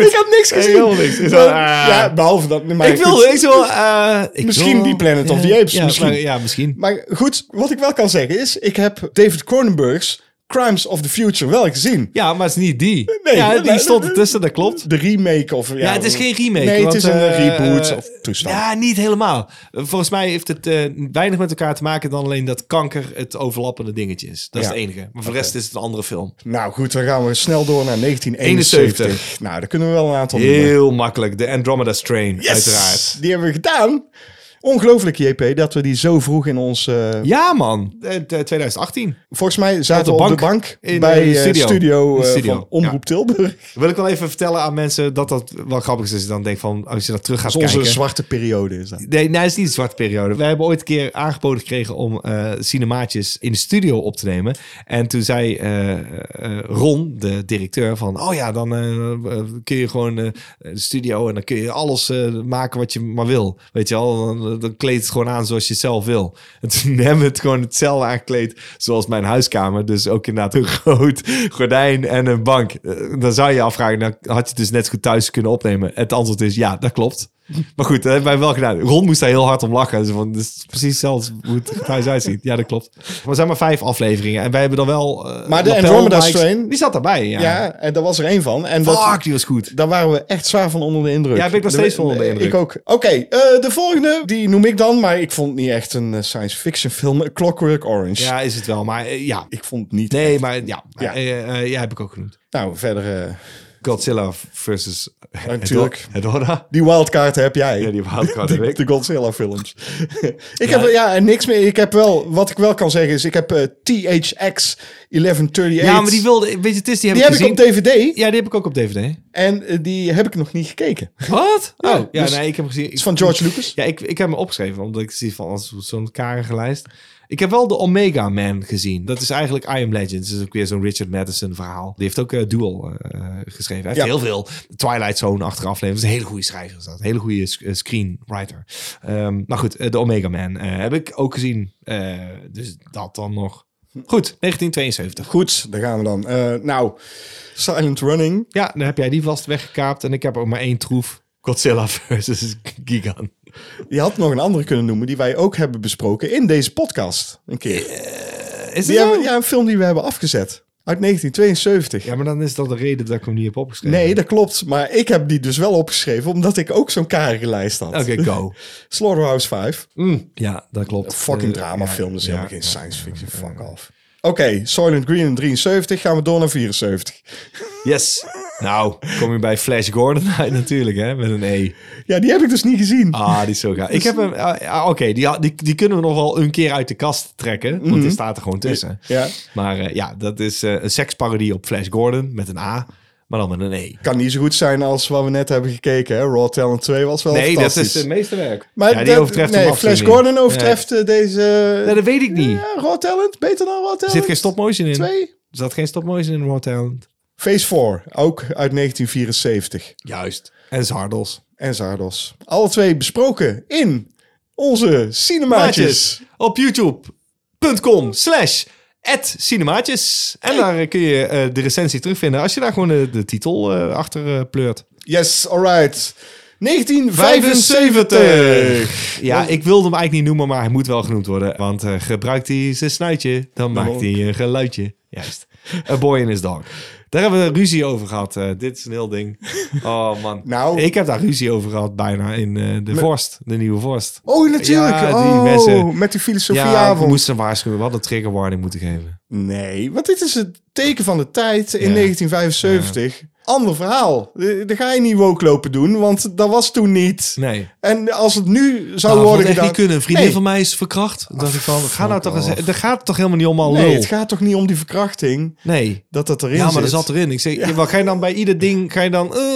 S1: ik had niks gezien.
S2: Helemaal niks. Is
S1: Maar-
S2: wel, eh,
S1: ja, behalve dat. Maar
S2: ik wil
S1: goed.
S2: ik wil, eh, ik
S1: Misschien
S2: wil-
S1: die Planet of the
S2: Ja,
S1: Apes,
S2: Ja,
S1: misschien.
S2: maar- ja, misschien.
S1: Maar goed, wat ik wel kan zeggen is... ik heb David Cronenberg's Crimes of the Future wel gezien.
S2: Ja, maar het is niet die.
S1: Nee,
S2: ja, die
S1: maar-
S2: stond ertussen, dat klopt.
S1: De remake of... Ja,
S2: Ja, Nou, het is geen remake.
S1: Nee,
S2: want,
S1: het is een
S2: eh,
S1: reboot
S2: eh,
S1: of toestand.
S2: Ja, niet helemaal. Eh, Volgens mij heeft het eh, weinig met elkaar te maken dan alleen dat kanker het overlappende dingetje is. Dat
S1: Ja.
S2: is het enige. Maar voor de rest is het een andere film.
S1: Nou goed, dan gaan we snel door naar 1971.
S2: 71.
S1: Nou, daar kunnen we wel een aantal noemen.
S2: Heel makkelijk. De Andromeda Strain, uiteraard.
S1: Die hebben we gedaan. Ongelooflijk, JP, dat we die zo vroeg in ons... eh,
S2: Ja, man. Eh, t- 2018.
S1: Volgens mij zaten
S2: de
S1: we op de
S2: bank.
S1: bank
S2: In,
S1: bij
S2: eh,
S1: eh, studio,
S2: studio. In
S1: eh,
S2: studio,
S1: van Omroep Tilburg.
S2: Wil ik wel even vertellen aan mensen dat dat wel grappig is. Als je dan denkt van, als je dat terug gaat
S1: Dat is onze
S2: kijken.
S1: zwarte periode is dat.
S2: Nee, nee, het is niet een zwarte periode. Wij hebben ooit een keer aangeboden gekregen om eh, cinemaatjes in de studio op te nemen. En toen zei eh, eh, Ron, de directeur, van... Oh ja, dan eh, eh, kun je gewoon eh, de studio en dan kun je alles eh, maken wat je maar wil. Weet je wel, dan, dan kleed het gewoon aan zoals je het zelf wil. En toen <laughs> hebben we het gewoon hetzelfde aangekleed zoals mijn huiskamer. Dus ook inderdaad een <laughs> groot gordijn en een bank. Eh, dan zou je je afvragen, dan had je het dus net zo goed thuis kunnen opnemen. Het antwoord is ja, dat klopt. Maar goed, dat hebben wij wel gedaan. Ron moest daar heel hard om lachen. Dus van, dit is precies hetzelfde hoe het thuis uitziet. Ja, dat klopt. Maar er zijn maar vijf afleveringen. En wij hebben dan wel... eh,
S1: Maar de
S2: lapel
S1: Andromeda
S2: mics.
S1: Strain-
S2: Die zat daarbij, ja.
S1: Ja, en daar was er één van. En dat,
S2: Fuck, die was goed.
S1: daar waren we echt zwaar van onder de indruk.
S2: Ja, ben ik nog
S1: De-
S2: steeds van onder de indruk.
S1: Ik ook. Oké, eh, de volgende, die noem ik dan. Maar ik vond het niet echt een eh, science fiction film. A Clockwork Orange.
S2: Ja, is het wel. Maar eh, ja.
S1: Ik vond het niet.
S2: Nee, maar ja.
S1: Ja.
S2: Ja, eh, eh, ja heb ik ook genoemd.
S1: Nou, verder... eh,
S2: Godzilla versus...
S1: natuurlijk.
S2: Hedorah.
S1: die wildcard heb jij.
S2: Ja, <laughs> die wildcard heb ik.
S1: De Godzilla films. <laughs> ik heb ja, en niks meer. Ik heb wel, wat ik wel kan zeggen is, ik heb eh, THX 1138.
S2: Ja, maar die wilde... Weet je, het is, die heb
S1: Die
S2: ik
S1: heb ik
S2: gezien.
S1: op DVD
S2: Ja, die heb ik ook op DVD.
S1: en eh, die heb ik nog niet gekeken. Het
S2: Wat?
S1: Ja,
S2: oh, ja,
S1: dus-
S2: nee, ik heb hem gezien.
S1: is van George Lucas.
S2: Ja, ik, ik heb hem opgeschreven, omdat ik zie van als zo'n karige lijst. Ik heb wel de Omega Man gezien. Dat is eigenlijk I Am Legend. Dat is ook weer zo'n Richard Madison verhaal. Die heeft ook eh, Duel eh, eh, geschreven. Hij heeft
S1: Ja.
S2: heel veel Twilight Zone achteraf leven. Dat is een hele goede schrijver. Is dat. Een hele goede sc- eh, screenwriter. Ehm, maar goed, eh, de Omega Man eh, heb ik ook gezien. Eh, dus dat dan nog. Goed, 1972.
S1: Goed, daar gaan we dan. Eh, nou, Silent Running.
S2: Ja, dan heb jij die vast weggekaapt. En ik heb ook maar één troef. Godzilla <laughs> versus Gigan.
S1: Je had nog een andere kunnen noemen die wij ook hebben besproken in deze podcast. Een keer.
S2: Is
S1: Die
S2: die
S1: hebben, ja, een film die we hebben afgezet. Uit 1972.
S2: Ja, maar dan is dat de reden dat ik hem niet heb opgeschreven.
S1: Nee, dat klopt. Maar ik heb die dus wel opgeschreven, omdat ik ook zo'n karige lijst had.
S2: Oké, go.
S1: Slaughterhouse 5.
S2: <laughs> Ja, dat klopt.
S1: Fucking
S2: Eh,
S1: dramafilm. Dat is
S2: ja,
S1: helemaal geen
S2: ja.
S1: science fiction. Fuck off. Oké, Silent Green in 73. Gaan we door naar 74.
S2: Yes. Nou, kom je bij Flash Gordon <laughs> uit natuurlijk, hè? Met een E.
S1: Ja, die heb ik dus niet gezien.
S2: Ah, die is zo gaaf. Ik heb hem... ah, ah, Oké, die, ha- die, die kunnen we nog wel een keer uit de kast trekken. Want die staat er gewoon tussen.
S1: Mhm. Ja.
S2: Maar eh, ja, dat is eh, een seksparodie op Flash Gordon met een A, maar dan met een E.
S1: Kan niet zo goed zijn als wat we net hebben gekeken. Hè? Raw Talent 2 was wel
S2: Nee, dat
S1: fantastisch.
S2: is het meesterwerk.
S1: Maar
S2: ja, die
S1: dat-
S2: overtreft
S1: nee,
S2: hem absoluut
S1: Flash
S2: niet.
S1: Gordon overtreft eh, deze...
S2: Nee, dat weet ik niet.
S1: Ja, Raw Talent. Beter dan Raw Talent.
S2: Er zit geen stopmotion in.
S1: Twee.
S2: Er zat geen stopmotion in Raw Talent.
S1: Phase 4. Ook uit 1974.
S2: Juist. En Zardos.
S1: En Zardos. Alle twee besproken in onze Cinemaatjes.
S2: Cinemaatjes. Op youtube.com slash at cinemaatjes. En daar eh, kun je eh, de recensie terugvinden als je daar gewoon eh, de titel eh, achter eh, pleurt.
S1: Yes, alright. 1975.
S2: Ja, ik wilde hem eigenlijk niet noemen, maar hij moet wel genoemd worden. Want eh, gebruikt hij zijn snuitje, dan maakt hij een geluidje. Juist. A boy in his dog. Daar hebben we ruzie over gehad. Eh, dit is een heel ding. Oh man.
S1: Nou.
S2: Ik heb daar ruzie over gehad bijna in eh, de vorst. De nieuwe vorst.
S1: Oh, natuurlijk.
S2: Ja, die
S1: oh, met die
S2: mensen- Ja, we
S1: filosofieavond.
S2: moesten hem waarschuwen. We hadden een trigger warning moeten geven.
S1: Nee, want dit is het teken van de tijd in
S2: Ja.
S1: 1975. Ander verhaal. Eh, Daar ga je niet woke lopen doen, want dat was toen niet.
S2: Nee.
S1: En als het nu zou
S2: Nou, dat had
S1: worden
S2: echt
S1: gedaan...
S2: niet kunnen. Een vriendin
S1: Nee.
S2: van mij is verkracht. Dan dacht ik van, ga nou
S1: fuck
S2: toch eens...
S1: off.
S2: Dat gaat toch helemaal niet om al
S1: Nee,
S2: lul?
S1: het gaat toch niet om die verkrachting
S2: Nee.
S1: dat dat erin
S2: oh, Ja, maar
S1: zit.
S2: dat zat erin. Ik zeg, ja. wat ga je dan bij ieder ding, ga je dan... eh, dan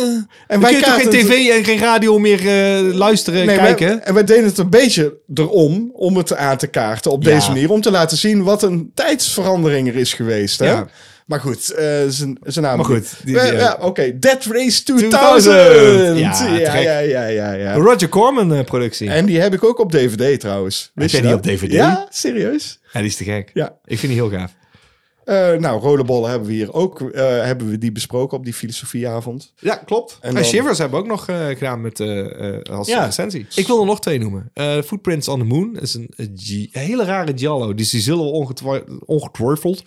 S1: wij
S2: kun je toch geen
S1: kaarten-
S2: tv en geen radio meer eh, luisteren en
S1: Nee, wij-
S2: kijken?
S1: en wij deden het een beetje erom, om het aan te kaarten op
S2: Ja.
S1: deze manier. Om te laten zien wat een tijdsverandering er is geweest. Hè?
S2: Ja.
S1: Maar goed, eh, zijn zijn naam.
S2: Maar goed, die-
S1: Eh,
S2: die-
S1: ja, Oké, Dead Race 2000.
S2: 2000.
S1: Ja,
S2: Ja,
S1: ja,
S2: trek.
S1: ja, ja, ja, ja.
S2: Een Roger Corman eh, productie.
S1: En die heb ik ook op DVD trouwens. Wist
S2: jij
S1: je
S2: die
S1: dat?
S2: op DVD?
S1: Ja, serieus.
S2: Ja, die is te gek.
S1: Ja.
S2: Ik vind die heel gaaf.
S1: Eh, nou, rollenbollen hebben we hier ook eh, hebben we die besproken op die filosofieavond.
S2: Ja, klopt. En,
S1: En dan-
S2: Shivers hebben we ook nog eh, gedaan met, eh, eh, als
S1: Ja.
S2: recensie. Ik wil er nog twee noemen. Eh, Footprints on the Moon is een, eh, gi- een hele rare giallo. Dus die zullen we ongetwa- ongetwijfeld...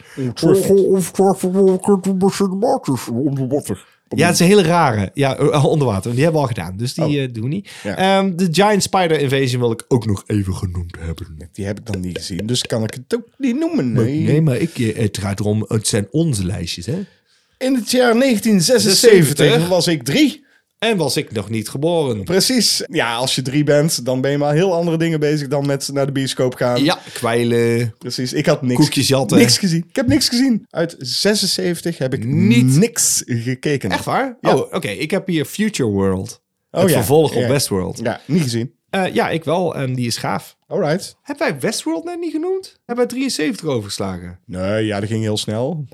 S2: Ja, het is een hele rare. Ja, eh, onder water. want Die hebben we al gedaan, dus die eh, doen we niet.
S1: Ja.
S2: Ehm, de Giant Spider Invasion wil ik ook nog even genoemd hebben.
S1: Die heb ik dan niet gezien, dus kan ik het ook niet noemen.
S2: Nee,
S1: Nee.
S2: maar ik, eh, het gaat erom, het zijn onze lijstjes, hè?
S1: In het jaar 1976
S2: 76.
S1: was ik drie.
S2: En was ik nog niet geboren.
S1: Precies. Ja, als je drie bent, dan ben je maar heel andere dingen bezig dan met naar de bioscoop gaan.
S2: Ja, kwijlen.
S1: Precies. Ik had niks,
S2: Koekjes jatten.
S1: niks gezien. Ik heb niks gezien. Uit 76 heb ik
S2: Niet.
S1: niks gekeken.
S2: Echt waar?
S1: Ja.
S2: Oh, oké. Ik heb hier Future World.
S1: Oh,
S2: het
S1: ja.
S2: vervolg
S1: Ja.
S2: op Westworld.
S1: Ja, niet gezien.
S2: Eh, ja, ik wel. En die is gaaf.
S1: Alright.
S2: Hebben wij Westworld net niet genoemd? Hebben wij 73 overgeslagen?
S1: Nee, ja, dat ging heel snel.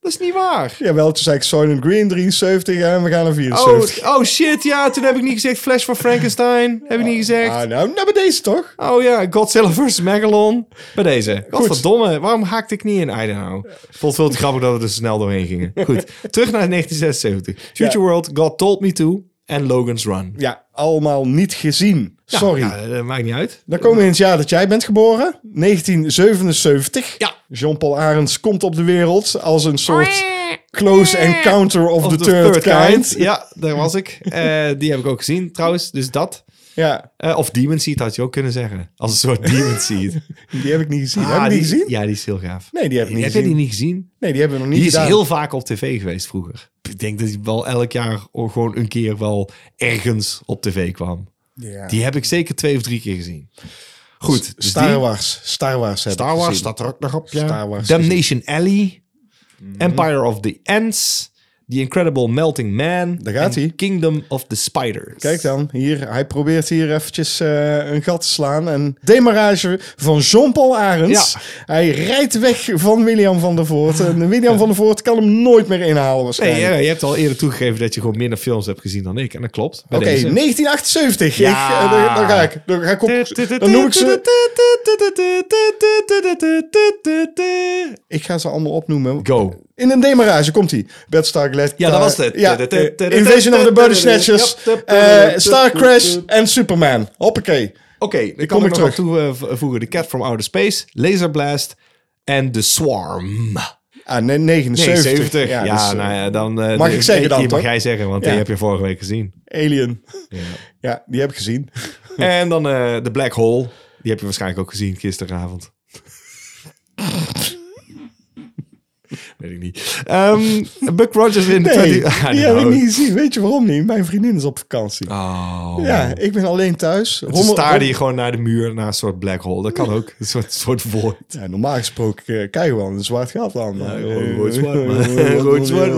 S2: Dat is niet waar.
S1: Jawel, toen zei ik Soylent Green 73 en we gaan naar
S2: Oh,
S1: 74.
S2: oh shit, ja. Toen heb ik niet gezegd Flash van Frankenstein. Heb ik niet gezegd.
S1: ah, nou, nou bij deze toch?
S2: Oh ja, Godzilla vs. Megalon. Bij deze.
S1: Goed.
S2: Godverdomme, waarom haakte ik niet in? I don't know. Vond het veel te grappig dat we er snel doorheen gingen. Goed, terug naar 1976. Future World, God Told Me To en Logan's Run.
S1: Ja, allemaal niet gezien.
S2: Ja,
S1: Sorry.
S2: ja, dat maakt niet uit.
S1: Dan komen we in het jaar dat jij bent geboren. 1977.
S2: Ja.
S1: Jean-Paul Arends komt op de wereld als een soort close encounter of,
S2: Of
S1: the,
S2: the
S1: third, kind. Ja.
S2: Ja, daar was ik. Eh, die heb ik ook gezien trouwens, dus dat. Eh, of Demon Seed had je ook kunnen zeggen. Als een soort Demon <laughs> Seed.
S1: die heb ik niet gezien.
S2: Ah,
S1: heb je die gezien?
S2: Ja, die is heel gaaf.
S1: Nee, die heb ik niet
S2: heb
S1: gezien.
S2: je die niet gezien?
S1: Nee, die hebben we nog niet
S2: Die is
S1: gedaan.
S2: heel vaak op tv geweest vroeger. Ik denk dat hij wel elk jaar o- gewoon een keer wel ergens op tv kwam.
S1: Ja.
S2: Die heb ik zeker twee of drie keer gezien. Goed, dus
S1: Star
S2: die-
S1: Wars. Star Wars heb
S2: Star Wars
S1: dat
S2: staat er ook nog op. Ja.
S1: Star Wars
S2: Damnation Alley,
S1: Mhm.
S2: Empire of the Ants, The Incredible Melting Man,
S1: Daar gaat
S2: en
S1: ie.
S2: Kingdom of the Spiders.
S1: Kijk dan, hier, hij probeert hier eventjes eh, een gat te slaan. Een demarrage van Jean-Paul Arends.
S2: Ja.
S1: Hij rijdt weg van William van der Voort. En William van der Voort kan hem nooit meer inhalen
S2: Nee, eh,
S1: waarschijnlijk.
S2: ja, je hebt al eerder toegegeven dat je gewoon minder films hebt gezien dan ik. En dat klopt. Bij
S1: Oké,
S2: deze.
S1: 1978.
S2: Ja.
S1: Ik, eh, dan, dan ga ik. Dan, ga ik op, dan noem ik ze. Ik ga ze allemaal opnoemen.
S2: <laughs> Go.
S1: In een demarage komt hij. Bed Star Glass.
S2: Ja, dat was het.
S1: Ja, eh, Invasion of the Body Snatchers. eh, Star Crash en Superman. Hoppakee.
S2: Oké, ik
S1: kom
S2: kan
S1: ik
S2: ik nog toevoegen. De Cat from Outer Space, Laser Blast en The Swarm.
S1: Ah, nee, 79.
S2: 70. Ja,
S1: dus, eh,
S2: nou ja, dan... eh,
S1: Mag ik
S2: die-
S1: zeggen
S2: die
S1: dan,
S2: mag
S1: toch?
S2: jij zeggen, want
S1: Ja.
S2: die heb je vorige week gezien.
S1: Alien. <laughs> Ja. die heb ik
S2: <laughs>
S1: gezien.
S2: en dan eh The Black Hole. Die heb je waarschijnlijk ook gezien gisteravond. Weet ik niet. Ehm, Buck Rogers in... Ah,
S1: Nee,
S2: <laughs> 20 I
S1: die heb
S2: don't
S1: ik
S2: know.
S1: niet gezien. Weet je waarom niet? Mijn vriendin is op vakantie.
S2: Oh.
S1: Ja, ik ben alleen thuis.
S2: Toen
S1: Rommel-
S2: staarde je gewoon naar de muur, naar een soort black hole. Dat kan ook. Een soort, soort void.
S1: Ja, normaal gesproken eh, kijken we wel een zwart gat aan. maar- eh, <laughs>
S2: <laughs> Rood zwart.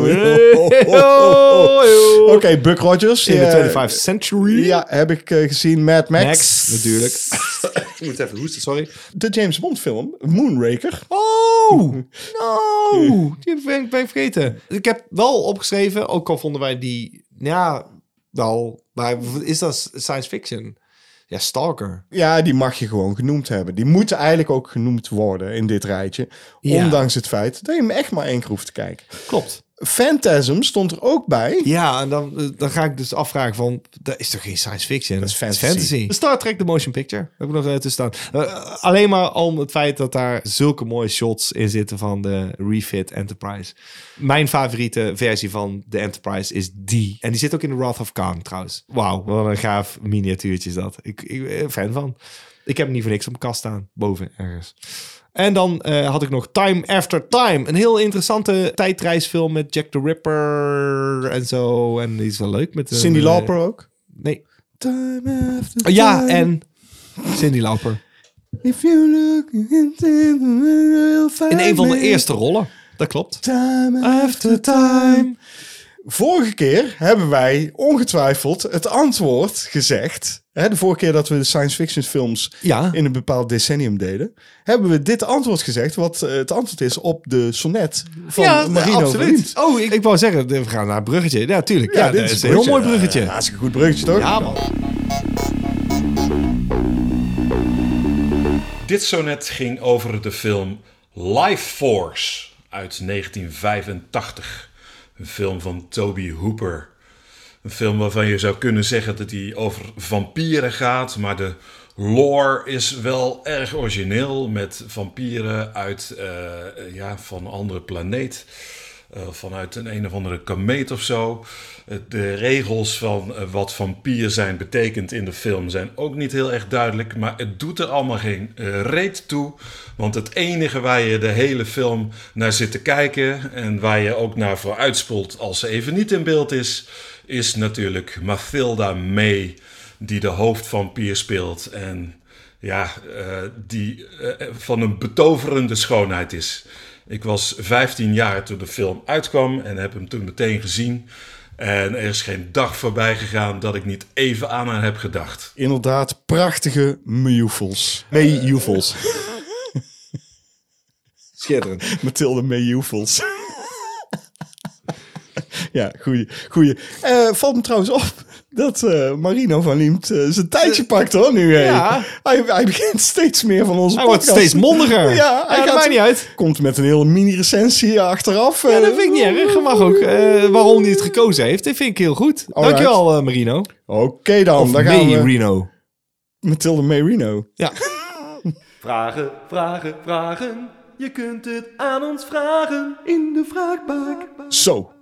S2: oh, <laughs>
S1: Oké, Buck Rogers.
S2: In
S1: eh,
S2: oh, de 25th century.
S1: Ja, heb ik eh, gezien. Mad Max.
S2: Max, <laughs> natuurlijk. ik moet even hoesten, sorry.
S1: De James Bond film. Moonraker.
S2: <laughs> Oh, no. Die ben ik ben ik vergeten. Ik heb wel opgeschreven, ook al vonden wij die... Ja, wel. Maar is dat science fiction? Ja, Stalker.
S1: Ja, die mag je gewoon genoemd hebben. Die moeten eigenlijk ook genoemd worden in dit rijtje.
S2: Ja.
S1: Ondanks het feit dat je hem echt maar één keer hoeft te kijken.
S2: Klopt.
S1: Phantasm stond er ook bij.
S2: Ja, en dan, dan ga ik dus afvragen van, dat is toch geen science fiction? Dat
S1: is fantasy.
S2: Star Trek The Motion Picture, heb ik nog eh, tussen staan. Eh, alleen maar om het feit dat daar zulke mooie shots in zitten van de refit Enterprise. Mijn favoriete versie van de Enterprise is die. En die zit ook in de Wrath of Khan trouwens. Wauw, wat een gaaf miniatuurtje is dat. Ik, ik ben fan van. Ik heb hem niet voor niks op mijn kast staan, boven ergens. En dan eh, had ik nog Time After Time. Een heel interessante tijdreisfilm met Jack the Ripper en zo. En die is wel leuk. Met een,
S1: Cindy
S2: eh,
S1: Lauper ook.
S2: Nee.
S1: Time after
S2: Oh, ja,
S1: time,
S2: en Cindy Lauper.
S1: If you look into the world, find
S2: In een van de
S1: me.
S2: eerste rollen. Dat klopt.
S1: Time after time. Vorige keer hebben wij ongetwijfeld het antwoord gezegd. Hè, de vorige keer dat we de science fiction films
S2: Ja.
S1: in een bepaald decennium deden, hebben we dit antwoord gezegd, wat eh, het antwoord is op de sonnet van Marino Verliemd.
S2: Oh, ik, ik wou zeggen, we gaan naar het bruggetje. Ja, tuurlijk. Ja,
S1: dit
S2: dat is
S1: een
S2: een heel mooi
S1: Ja,
S2: bruggetje.
S1: hartstikke goed bruggetje, toch?
S2: Ja, man.
S4: Dit sonnet ging over de film Life Force uit 1985. Een film van Toby Hooper. Een film waarvan je zou kunnen zeggen dat hij over vampieren gaat, maar de lore is wel erg origineel met vampieren uit eh, ja, van een andere planeet. Eh, vanuit een een of andere komeet of zo. Eh, de regels van eh, wat vampier zijn betekent in de film zijn ook niet heel erg duidelijk. Maar het doet er allemaal geen eh, reet toe. Want het enige waar je de hele film naar zit te kijken. en waar je ook naar voor uitspoelt als ze even niet in beeld is. is natuurlijk Mathilda May, die de hoofdvampier speelt. En ja, eh, die eh, van een betoverende schoonheid is. Ik was 15 jaar toen de film uitkwam en heb hem toen meteen gezien. En er is geen dag voorbij gegaan dat ik niet even aan haar heb gedacht.
S1: Inderdaad, prachtige mejoefels. Mejoefels.
S2: Eh. Schitterend.
S1: Mathilde Mejoefels. <laughs> ja, goeie. goeie. Eh, valt me trouwens op dat eh, Marino van Liemt eh, zijn tijdje pakt hoor nu. hé.
S2: ja.
S1: Hij, hij begint steeds meer van onze
S2: Hij wordt
S1: podcast.
S2: steeds mondiger.
S1: Ja, hij
S2: dat
S1: gaat-
S2: maakt niet uit.
S1: Komt met een hele mini-recensie achteraf.
S2: Ja,
S1: eh.
S2: dat vind ik niet erg. Je mag ook eh, waarom hij het gekozen heeft. Dat vind ik heel goed.
S1: Alright.
S2: Dankjewel, eh, Marino.
S1: Oké dan,
S2: Of
S1: dan gaan
S2: May
S1: we.
S2: Reno.
S1: Mathilde Marino.
S2: Ja.
S8: Vragen, vragen, vragen. Je kunt het aan ons vragen in de vraagbaak.
S1: Zo,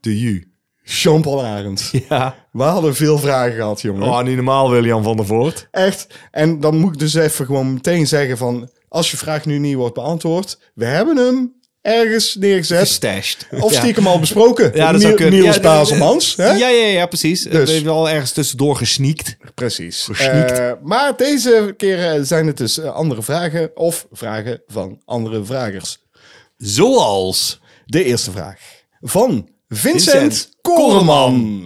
S2: De U.
S1: Jean-Paul Arends.
S2: Ja.
S1: We hadden veel vragen gehad, jongen.
S2: Oh, niet normaal, William van der Voort.
S1: Echt. En dan moet ik dus even gewoon meteen zeggen van... als je vraag nu niet wordt beantwoord... we hebben hem ergens neergezet.
S2: Stashed.
S1: Of stiekem al besproken.
S2: Ja, dat zou
S1: Niel-
S2: kunnen.
S1: Niels
S2: ja,
S1: Baselmans.
S2: Ja,
S1: hè?
S2: ja, ja, ja, precies. Dus.
S1: Dus.
S2: We hebben wel ergens tussendoor gesneakt.
S1: precies.
S2: Versniekt.
S1: Eh, maar deze keer eh, zijn het dus eh, andere vragen... of vragen van andere vragers.
S2: Zoals.
S1: De eerste vraag. Van Vincent,
S2: Vincent
S1: Koreman.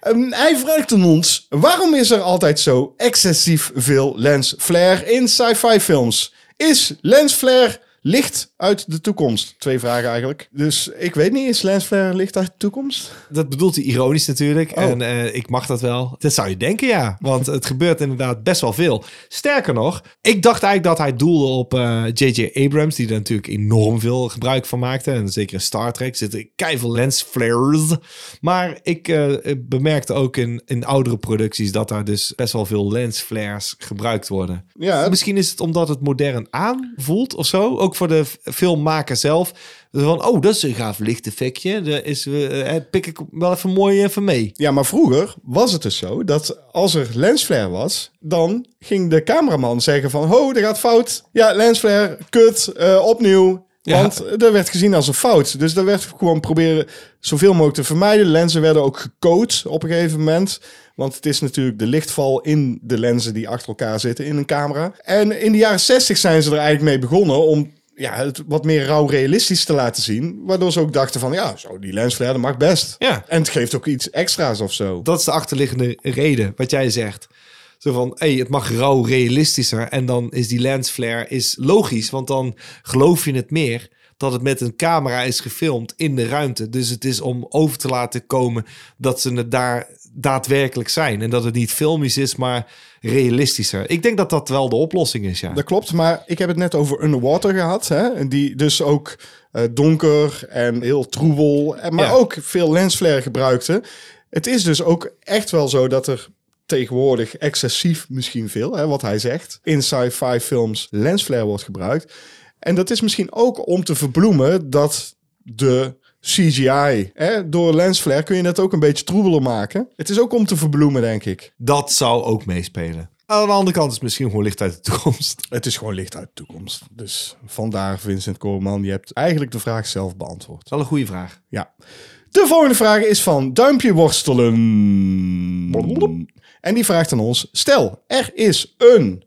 S1: Ehm, hij vraagt aan ons... waarom is er altijd zo excessief veel lens flare in sci-fi films? Is lens flare licht uit de toekomst? Twee vragen eigenlijk. Dus ik weet niet, is lens flare licht uit de toekomst?
S2: Dat bedoelt hij ironisch natuurlijk.
S1: Oh.
S2: En eh, ik mag dat wel. Dat zou je denken, ja. Want het gebeurt inderdaad best wel veel. Sterker nog, ik dacht eigenlijk dat hij doelde op eh, J.J. Abrams... die er natuurlijk enorm veel gebruik van maakte. En zeker in Star Trek zitten keiveel lensflares. Maar ik eh, bemerkte ook in, in oudere producties... dat daar dus best wel veel lensflares gebruikt worden. Dus
S1: Ja,
S2: Misschien is het omdat het modern aanvoelt of zo. Ook voor de f- filmmaker zelf. Van, oh, dat is een gaaf lichteffectje. Daar is, eh, eh, pik ik wel even mooi even mee.
S1: ja, maar vroeger was het dus zo dat als er lensflare was, dan ging de cameraman zeggen van, ho, dat gaat fout. Ja, lensflare, kut, eh, opnieuw.
S2: Ja.
S1: Want dat werd gezien als een fout. Dus dat werd gewoon proberen zoveel mogelijk te vermijden. De lenzen werden ook gecoat op een gegeven moment. Want het is natuurlijk de lichtval in de lenzen die achter elkaar zitten in een camera. En in de jaren 60 zijn ze er eigenlijk mee begonnen om ja, het wat meer rauw realistisch te laten zien. Waardoor ze ook dachten van, ja, zo, die lensflare dat mag best.
S2: Ja.
S1: En het geeft ook iets extra's of zo.
S2: Dat is de achterliggende reden, wat jij zegt. Zo van, hé, het mag rauw realistischer. En dan is die lensflare is logisch. Want dan geloof je het meer dat het met een camera is gefilmd in de ruimte. Dus het is om over te laten komen dat ze het daar daadwerkelijk zijn. En dat het niet filmisch is, maar realistischer. Ik denk dat dat wel de oplossing is, ja.
S1: Dat klopt, maar ik heb het net over Underwater gehad. Hè? en Die dus ook eh, donker en heel troebel, en, maar
S2: Ja.
S1: ook veel lensflare gebruikte. Het is dus ook echt wel zo dat er tegenwoordig excessief misschien veel, hè, wat hij zegt, in sci-fi films lensflare wordt gebruikt. En dat is misschien ook om te verbloemen dat de CGI, hè, door lensflare kun je dat ook een beetje troebeler maken. Het is ook om te verbloemen, denk ik.
S2: Dat zou ook meespelen. Aan de andere kant is het misschien gewoon licht uit de toekomst.
S1: Het is gewoon licht uit de toekomst. Dus vandaar, Vincent Koorman, je hebt eigenlijk de vraag zelf beantwoord.
S2: Wel een goede vraag.
S1: Ja. De volgende vraag is van Duimpje Worstelen. En die vraagt aan ons: Stel, er is een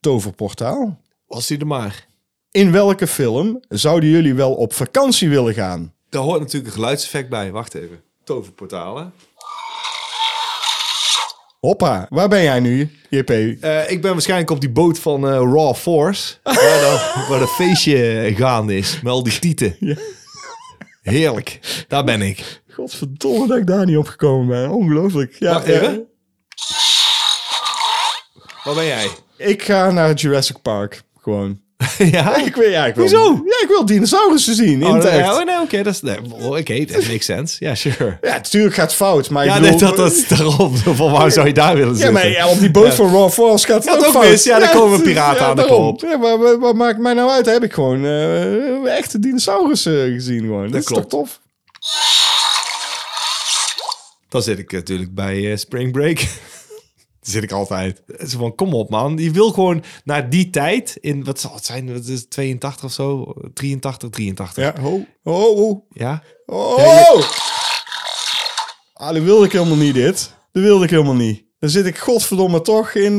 S1: toverportaal.
S2: Was die er maar.
S1: In welke film zouden jullie wel op vakantie willen gaan?
S2: Daar hoort natuurlijk een geluidseffect bij. Wacht even. Toverportalen.
S1: Hoppa, waar ben jij nu, JP?
S2: Eh, ik ben waarschijnlijk op die boot van eh, Raw Force. waar, dat, waar dat feestje gaande is. Met al die tieten. Heerlijk. Daar ben ik.
S1: Godverdomme dat ik daar niet op gekomen ben. Ongelooflijk. Ja,
S2: Wacht even. Waar ben jij?
S1: eh, Ik ga naar Jurassic Park, gewoon.
S2: <laughs> ja?
S1: Ik wil, ja, ik wil,
S2: Hoezo?
S1: Ja, ik wil dinosaurussen zien, in
S2: Oh,
S1: het
S2: nee,
S1: echt.
S2: oh, nee, oké. dat is nee, Oké, dat makes sense. Ja, sure.
S1: Ja, natuurlijk gaat het fout, maar ik
S2: Ja,
S1: bedoel... eh,
S2: nee, dat, dat <laughs> is daarom. Van waar zou je daar willen
S1: Ja,
S2: zitten?
S1: maar ja, op die boot
S2: Ja.
S1: van Raw Force gaat het
S2: Gaat
S1: ook,
S2: ook
S1: fout.
S2: mis. Ja, dan komen we
S1: het is-
S2: piraten aan de
S1: daarom.
S2: kop.
S1: Ja, maar wat, wat maakt mij nou uit? Heb ik gewoon eh, echte dinosaurussen gezien gewoon. Dat, is
S2: klopt.
S1: toch tof?
S2: Dan zit ik natuurlijk bij eh, Spring Break. <laughs> Daar zit ik altijd. Zo van, kom op man. Je wil gewoon naar die tijd. In, wat zal het zijn? Wat is het, 82 of zo? 83, 83.
S1: Ja, ho, ho, ho.
S2: Ja?
S1: Oh! Ah, dat wilde ik helemaal niet, dit. Dat wilde ik helemaal niet. Dan zit ik godverdomme toch in eh,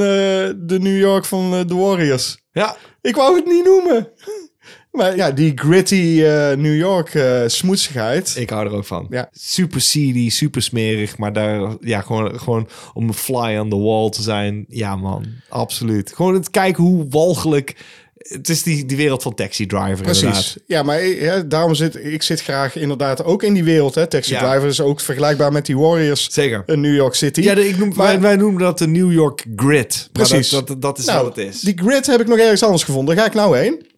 S1: de New York van eh, de Warriors.
S2: Ja.
S1: Ik wou het niet noemen. <laughs> Maar ja, die gritty eh, New York eh smoetsigheid.
S2: Ik hou er ook van.
S1: Ja.
S2: Super seedy, super smerig. Maar daar, ja, gewoon, gewoon om een fly on the wall te zijn. Ja man, absoluut. Gewoon het kijken hoe walgelijk... Het is die, die wereld van Taxi Driver
S1: Precies.
S2: inderdaad.
S1: Ja, maar ik- hè, daarom zit ik zit graag inderdaad ook in die wereld. Hè. Taxi
S2: Ja.
S1: Driver is ook vergelijkbaar met die Warriors
S2: Zeker.
S1: in New York City.
S2: Ja, de- ik noem, wij, wij noemen dat de New York Grid. Maar
S1: Precies.
S2: Dat, dat, dat is
S1: nou,
S2: wat het is.
S1: Die grid heb ik nog ergens anders gevonden. Daar ga ik nou heen.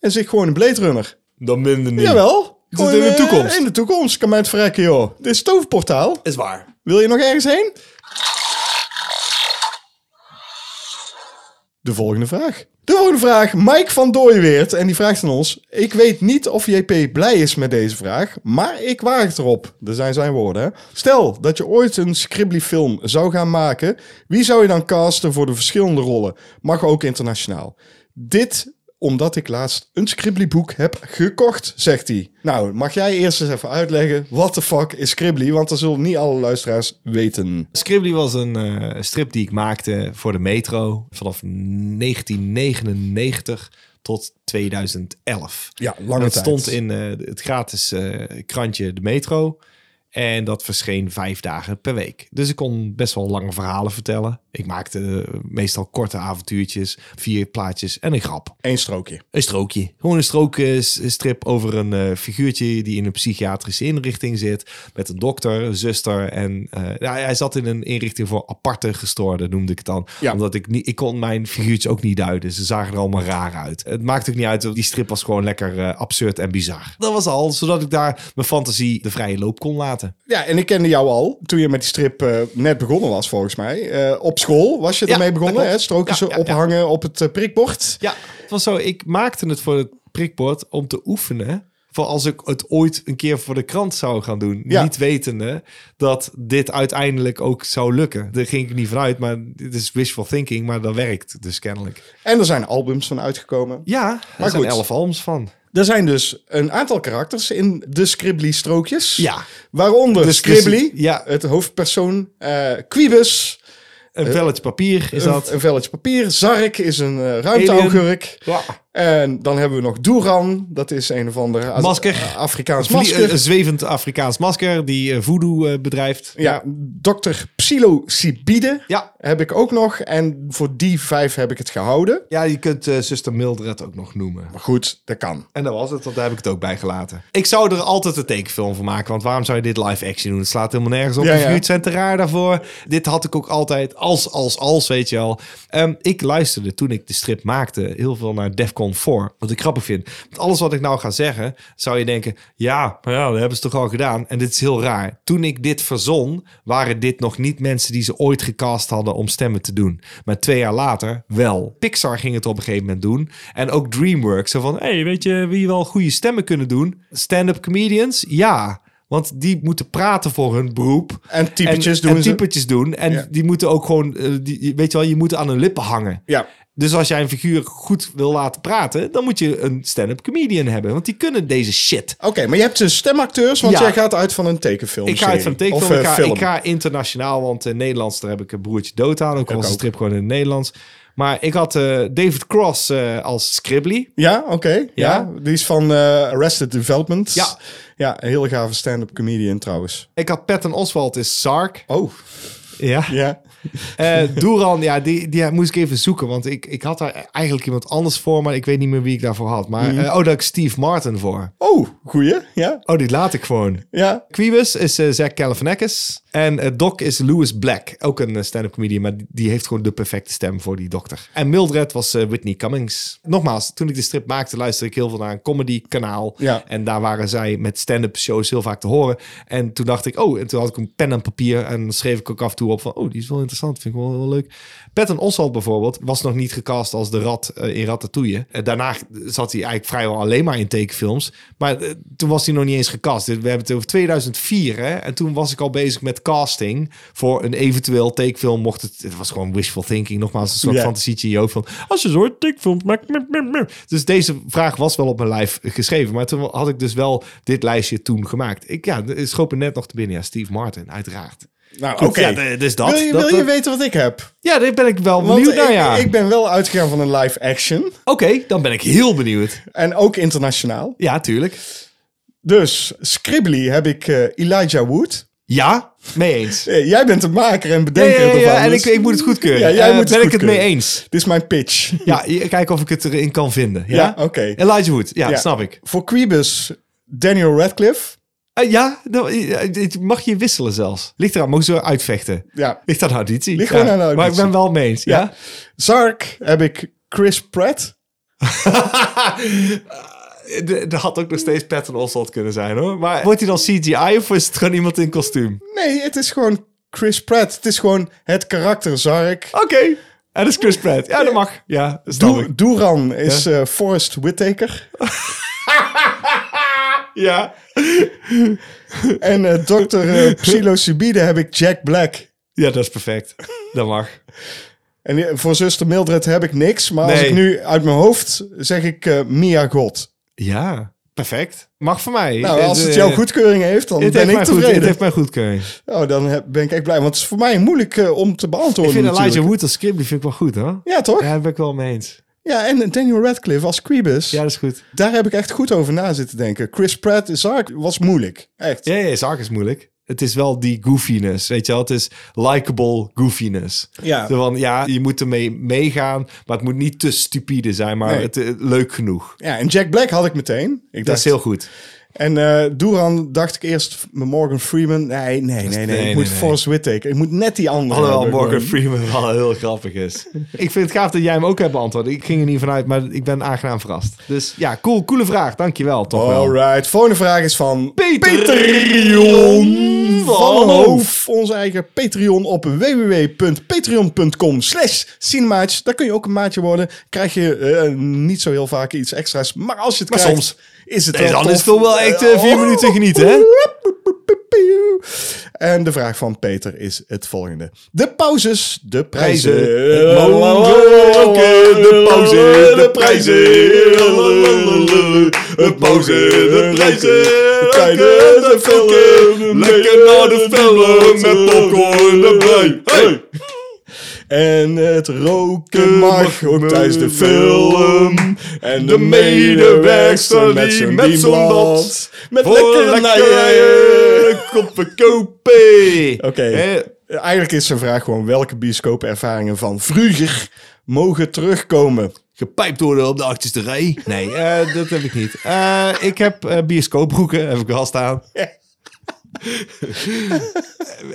S1: En zit gewoon een Blade Runner.
S2: Dan minder niet.
S1: Jawel.
S2: Is het in
S1: Gewoon,
S2: de
S1: eh,
S2: toekomst?
S1: In de toekomst. Kan mij het verrekken, joh. Dit is het toverportaal.
S2: Is waar.
S1: Wil je nog ergens heen? De volgende vraag. De volgende vraag, Mike van Dooiweert. En die vraagt aan ons: Ik weet niet of JP blij is met deze vraag, maar ik waag het erop. Dat zijn zijn woorden. Hè? Stel dat je ooit een Scribbly-film zou gaan maken, wie zou je dan casten voor de verschillende rollen? Mag ook internationaal. Dit omdat ik laatst een Scribbly-boek heb gekocht, zegt hij. Nou, mag jij eerst eens even uitleggen: wat de fuck is Scribbly? Want dat zullen niet alle luisteraars weten.
S2: Scribbly was een eh, strip die ik maakte voor de metro vanaf 1999 tot 2011.
S1: Ja, lange
S2: Het
S1: tijd.
S2: stond in eh, het gratis eh, krantje De Metro. En dat verscheen vijf dagen per week. Dus ik kon best wel lange verhalen vertellen. Ik maakte eh, meestal korte avontuurtjes, vier plaatjes en een grap.
S1: Eén strookje.
S2: Een strookje. Gewoon een strookstrip over een eh, figuurtje die in een psychiatrische inrichting zit. Met een dokter, een zuster. En eh, ja, hij zat in een inrichting voor aparte gestoorden, noemde ik het dan.
S1: Ja.
S2: Omdat ik niet, ik kon mijn figuurtjes ook niet duiden. Ze zagen er allemaal raar uit. Het maakt ook niet uit. want Die strip was gewoon lekker eh, absurd en bizar. Dat was al, zodat ik daar mijn fantasie de vrije loop kon laten.
S1: Ja, en ik kende jou al toen je met die strip eh, net begonnen was, volgens mij. Eh, op school was je
S2: Ja,
S1: ermee
S2: dat
S1: begonnen,
S2: klopt.
S1: hè? Strookjes
S2: Ja, ja, ja.
S1: ophangen op het eh, prikbord.
S2: Ja, het was zo. Ik maakte het voor het prikbord om te oefenen. Voor als ik het ooit een keer voor de krant zou gaan doen.
S1: Ja.
S2: Niet wetende dat dit uiteindelijk ook zou lukken. Daar ging ik niet vanuit, maar dit is wishful thinking. Maar dat werkt dus kennelijk.
S1: En er zijn albums van uitgekomen.
S2: Ja, er zijn
S1: goed.
S2: elf albums van.
S1: Er zijn dus een aantal karakters in de Scribbly-strookjes.
S2: Ja.
S1: Waaronder de
S2: Dus-
S1: Scribbly,
S2: dus- ja.
S1: het hoofdpersoon, eh Quibus,
S2: Eh, Een velletje papier is
S1: een,
S2: dat.
S1: een velletje papier. Zark is een eh ruimteaugurk.
S2: Ja.
S1: En dan hebben we nog Doeran, dat is een of andere Az-
S2: Masker.
S1: Afrikaans
S2: Vlie- eh,
S1: masker.
S2: Een zwevend Afrikaans masker die eh, voodoo eh, bedrijft.
S1: ja, dokter Psilocybide
S2: Ja.
S1: heb ik ook nog. En voor die vijf heb ik het gehouden.
S2: ja, je kunt eh, zuster Mildred ook nog noemen.
S1: Maar goed, dat kan.
S2: En dat was het, want daar heb ik het ook bij gelaten. Ik zou er altijd een tekenfilm van maken, want waarom zou je dit live action doen? Het slaat helemaal nergens op.
S1: Ja,
S2: de
S1: ja.
S2: figuurtjes zijn te raar daarvoor. Dit had ik ook altijd als, als, als, weet je wel. Ehm, ik luisterde toen ik de strip maakte heel veel naar Defcon Con 4. Wat ik grappig vind. Want alles wat ik nou ga zeggen, zou je denken... Ja, maar ja, dat hebben ze toch al gedaan. En dit is heel raar. Toen ik dit verzon, waren dit nog niet mensen die ze ooit gecast hadden om stemmen te doen. Maar twee jaar later wel. Pixar ging het op een gegeven moment doen. En ook DreamWorks. Zo van, hey, weet je wie wel goede stemmen kunnen doen? Stand-up comedians? Ja. Want die moeten praten voor hun beroep.
S1: En typetjes
S2: en,
S1: doen
S2: en
S1: ze.
S2: typetjes doen. En
S1: Ja.
S2: die moeten ook gewoon, eh, die, weet je wel, je moet aan hun lippen hangen.
S1: Ja.
S2: Dus als jij een figuur goed wil laten praten, dan moet je een stand-up comedian hebben. Want die kunnen deze shit.
S1: Oké, maar je hebt dus stemacteurs, want
S2: Ja.
S1: jij gaat uit van een tekenfilm.
S2: Ik ga uit van een tekenfilm.
S1: Of,
S2: ik,
S1: eh,
S2: ga,
S1: film.
S2: ik ga internationaal, want in Nederlands, daar heb ik een broertje dood aan. Ook al was de
S1: ook.
S2: strip gewoon in het Nederlands. Maar ik had eh, David Cross eh, als Scribbly.
S1: Ja, oké. Ja. die is van eh, Arrested Development.
S2: Ja.
S1: Ja, een hele gave stand-up comedian trouwens.
S2: Ik had Patton Oswald is Sark.
S1: Oh,
S2: Ja.
S1: ja.
S2: Eh Doeran, ja, die, die moest ik even zoeken. Want ik, ik had daar eigenlijk iemand anders voor, maar ik weet niet meer wie ik daarvoor had. Maar eh, oh, daar had ik Steve Martin voor.
S1: Oh, goeie. Ja,
S2: Oh, die laat ik gewoon.
S1: ja.
S2: Quibus is eh, Zach Galifianakis. En eh, Doc is Louis Black. Ook een eh, stand-up comedian, maar die- die heeft gewoon de perfecte stem voor die dokter. En Mildred was eh, Whitney Cummings. Nogmaals, toen ik de strip maakte, luisterde ik heel veel naar een comedy-kanaal.
S1: Ja.
S2: En daar waren zij met stand-up shows heel vaak te horen. En toen dacht ik, oh, en toen had ik een pen en papier. En dan schreef ik ook af en toe op van, oh, die is wel interessant. Vind ik wel, wel leuk. Patton Oswalt bijvoorbeeld was nog niet gecast als de rat eh, in Ratatouille. Eh, daarna zat hij eigenlijk vrijwel alleen maar in tekenfilms. Maar eh, toen was hij nog niet eens gecast. Dit- We hebben het over 2004, hè. En toen was ik al bezig met casting voor een eventueel tekenfilm. Mocht het, het was gewoon wishful thinking. Nogmaals, een soort
S1: Ja.
S2: fantasietje in je hoofd van, als je zo'n tekenfilm maakt. meh, meh, meh. Dus deze vraag was wel op mijn lijf geschreven. Maar toen had ik dus wel dit lijstje toen gemaakt. Ik, ja, er schoot me net nog te binnen. Ja, Steve Martin, uiteraard.
S1: Nou, oké.
S2: Goed, ja, d- dus dat.
S1: Wil je,
S2: dat-
S1: wil je
S2: dat-
S1: weten wat ik heb?
S2: ja, daar ben ik wel
S1: Want
S2: benieuwd naar,
S1: ik,
S2: ja.
S1: ik ben wel uitgegaan van een live action.
S2: Oké, dan ben ik heel benieuwd.
S1: En ook internationaal.
S2: Ja, tuurlijk.
S1: Dus, Scribbly heb ik eh, Elijah Wood.
S2: Ja, mee eens.
S1: Eh, jij bent de maker en
S2: Ja,
S1: bedenker
S2: ja, ja, ja,
S1: ervan.
S2: en ik,
S1: dus-
S2: ik moet het goedkeuren.
S1: Ja, jij
S2: Eh,
S1: moet het
S2: ben ik het mee
S1: goedkeuren.
S2: eens?
S1: Dit is mijn pitch.
S2: Ja, je- kijk of ik het erin kan vinden. Ja,
S1: Ja, oké.
S2: Elijah Wood, ja,
S1: Ja.
S2: snap ik.
S1: Voor Quibus, Daniel Radcliffe.
S2: Eh, ja, nou, eh, eh, mag je wisselen zelfs. Ligt eraan, mogen ze uitvechten?
S1: Ja.
S2: Ligt aan de auditie?
S1: Ligt
S2: Ja,
S1: gewoon aan de
S2: Maar ik
S1: auditie.
S2: ben wel mee eens, ja?
S1: Ja. Zark heb ik Chris Pratt.
S2: Eh, d- Dat had ook nog steeds Patton Oswalt kunnen zijn, hoor. Maar wordt hij dan CGI of is het gewoon iemand in kostuum?
S1: Nee, het is gewoon Chris Pratt. Het is gewoon het karakter Zark.
S2: Oké. En dat is Chris Pratt. Ja, dat mag. Ja, snap
S1: Doe-
S2: ik.
S1: Doeran is eh, Forrest Whitaker.
S2: Ja.
S1: en eh, dokter
S2: <laughs>
S1: eh, Psilocybide heb ik Jack Black.
S2: ja, dat is perfect. Dat mag.
S1: En eh, voor zuster Mildred heb ik niks. Maar als
S2: Nee.
S1: ik nu uit mijn hoofd zeg ik eh, Mia God.
S2: Ja, perfect. Mag voor mij.
S1: Nou, als het
S2: Eh,
S1: jouw goedkeuring heeft, dan
S2: het
S1: ben
S2: heeft
S1: ik
S2: mij goed- Het
S1: tevreden.
S2: heeft mij goedkeuring.
S1: Oh, dan heb- ben ik echt blij. Want het is voor mij moeilijk eh, om te
S2: Ik
S1: beantwoorden
S2: vind
S1: natuurlijk.
S2: Elijah Wood als Skip, die vind ik wel goed, hoor.
S1: Ja, toch?
S2: Ja, daar ben ik wel mee eens.
S1: Ja, en Daniel Radcliffe als Quibus.
S2: Ja, dat is goed.
S1: Daar heb ik echt goed over na zitten denken. Chris Pratt is Zark was moeilijk. Echt.
S2: Ja, ja, Zark is moeilijk. Het is wel die goofiness, weet je wel. Het is likable goofiness.
S1: Ja.
S2: Zo van, ja, je moet ermee meegaan, maar het moet niet te stupide zijn, maar
S1: Nee.
S2: het, eh, leuk genoeg.
S1: Ja, en Jack Black had ik meteen. Ik
S2: Dat is
S1: dacht,
S2: heel goed.
S1: En eh Doeran dacht ik eerst met Morgan Freeman. Nee, nee, nee, nee.
S2: nee,
S1: ik
S2: nee,
S1: moet
S2: nee.
S1: Forrest Whitaker. Ik moet net die andere.
S2: Alhoewel
S1: hebben,
S2: Morgan
S1: gewoon.
S2: Freeman wel heel grappig is. ik vind het gaaf dat jij hem ook hebt beantwoord. Ik ging er niet vanuit, maar ik ben aangenaam verrast. Dus ja, cool, coole vraag. Dankjewel, toch wel.
S1: Alright. Volgende vraag is van
S2: Peter
S1: Jon
S2: van
S1: van Hoof. Onze eigen Patreon op www.patreon.com slash cinemaatje. Daar kun je ook een maatje worden. Krijg je eh, niet zo heel vaak iets extra's. Maar als je het
S2: Maar
S1: krijgt,
S2: soms.
S1: is het
S2: Nee,
S1: wel
S2: dan
S1: tof.
S2: is het toch wel echt, eh, vier
S1: Oh.
S2: minuten genieten, hè?
S1: En de vraag van Peter is het volgende. De pauzes, de prijzen.
S2: Prijzen. Het mogelijke, de pauze, de prijzen. Het pauze, de prijzen.
S1: Kijken, de film.
S2: Lekker naar de film met popcorn erbij. Hey!
S1: En het roken mag ook tijdens de film. En de
S2: De
S1: medewerkster die met zo'n blad. Met lekkere nijen.
S2: koppen kopie.
S1: Oké. Eigenlijk is zijn vraag gewoon welke bioscoopervaringen van vroeger mogen terugkomen.
S2: gepijpt worden op de achterste rij. Nee, eh, dat heb ik niet. Eh, ik heb eh bioscoopbroeken, heb ik wel staan.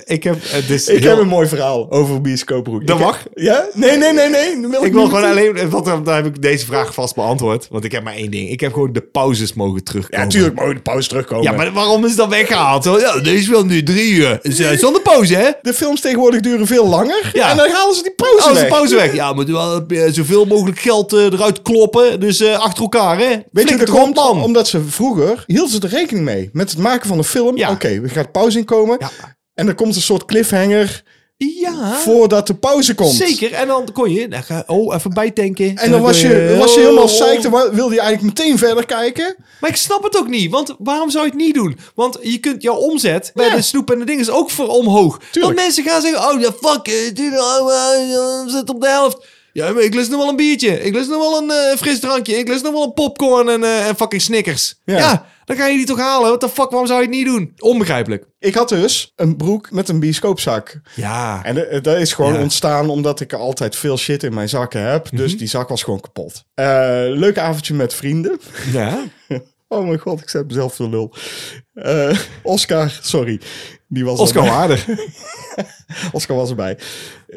S2: Ik heb... Het is
S1: Ik
S2: heel-
S1: heb een mooi verhaal over bioscooproet.
S2: Dat
S1: Ik heb-
S2: mag.
S1: Ja? Nee, nee, nee, nee. dan wil
S2: Ik wil
S1: niet
S2: gewoon
S1: naartoe.
S2: alleen... Want dan, dan heb ik deze vraag vast beantwoord. Want ik heb maar één ding. Ik heb gewoon de pauzes mogen terugkomen.
S1: Ja, tuurlijk, maar de pauze terugkomen.
S2: Ja, maar waarom is dat weggehaald? Zo, Ja, deze wil nu drie uur. Z- eh, Zonder pauze, hè?
S1: De films tegenwoordig duren veel langer.
S2: Ja.
S1: En dan halen ze die pauze
S2: Als de
S1: weg.
S2: pauze weg. Ja, moet wel eh, zoveel mogelijk geld eh, eruit kloppen. Dus eh, achter elkaar, hè?
S1: Weet je
S2: Flikker
S1: hoe dat
S2: erop,
S1: komt?
S2: man.
S1: Omdat ze vroeger hielden ze er rekening mee. Met het maken van een film.
S2: Ja.
S1: Oké, we gaan pauze inkomen.
S2: Ja.
S1: En er komt een soort cliffhanger
S2: Ja,
S1: voordat de pauze komt.
S2: zeker. En dan kon je... nou, ga- Oh, even bijtanken.
S1: En dan was je, was je
S2: Oh.
S1: helemaal psyched en wa- wilde je eigenlijk meteen verder kijken.
S2: Maar ik snap het ook niet. Want waarom zou je het niet doen? Want je kunt jouw omzet bij
S1: Ja.
S2: de snoep en de dingen is ook voor omhoog.
S1: Tuurlijk.
S2: Dat mensen gaan zeggen, oh ja, fuck, eh, die- oh, eh, eh, zit op de helft. Ja, maar ik lust nog wel een biertje. Ik lust nog wel een eh, fris drankje. Ik lust nog wel een popcorn en, eh, en fucking snickers. Ja.
S1: Ja.
S2: dan ga je die toch halen. What the fuck, waarom zou je het niet doen? Onbegrijpelijk.
S1: Ik had dus een broek met een bioscoopzak.
S2: Ja.
S1: En eh, dat is gewoon
S2: Ja.
S1: ontstaan omdat ik altijd veel shit in mijn zakken heb. Dus die zak was gewoon kapot. Eh, leuk avondje met vrienden. <laughs>
S2: ja.
S1: Oh mijn god, ik zet mezelf voor lul. Eh, Oscar, sorry. Die was
S2: Oscar
S1: erbij.
S2: Waarder.
S1: <laughs> Oscar was erbij.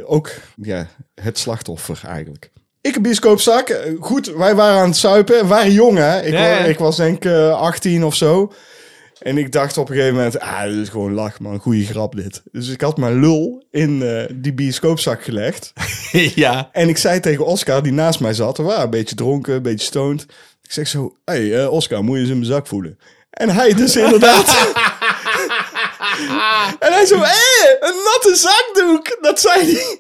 S1: Ook ja, het slachtoffer eigenlijk. Ik een bioscoopzak. Eh, Goed, wij waren aan het suipen. We waren jong, hè? Ik,
S2: Ja, ja.
S1: wa- ik was denk ik eh, 18 of zo. En ik dacht op een gegeven moment, ah, dit is gewoon lach, man. Goeie grap dit. Dus ik had mijn lul in eh, die bioscoopzak gelegd.
S2: <laughs> ja.
S1: En ik zei tegen Oscar, die naast mij zat, we waren een beetje dronken, een beetje stoned. Ik zeg zo, hé hey, eh, Oscar, moet je eens in mijn zak voelen? En hij dus inderdaad. <laughs> en hij zo, hé, een natte zakdoek. Dat zei hij.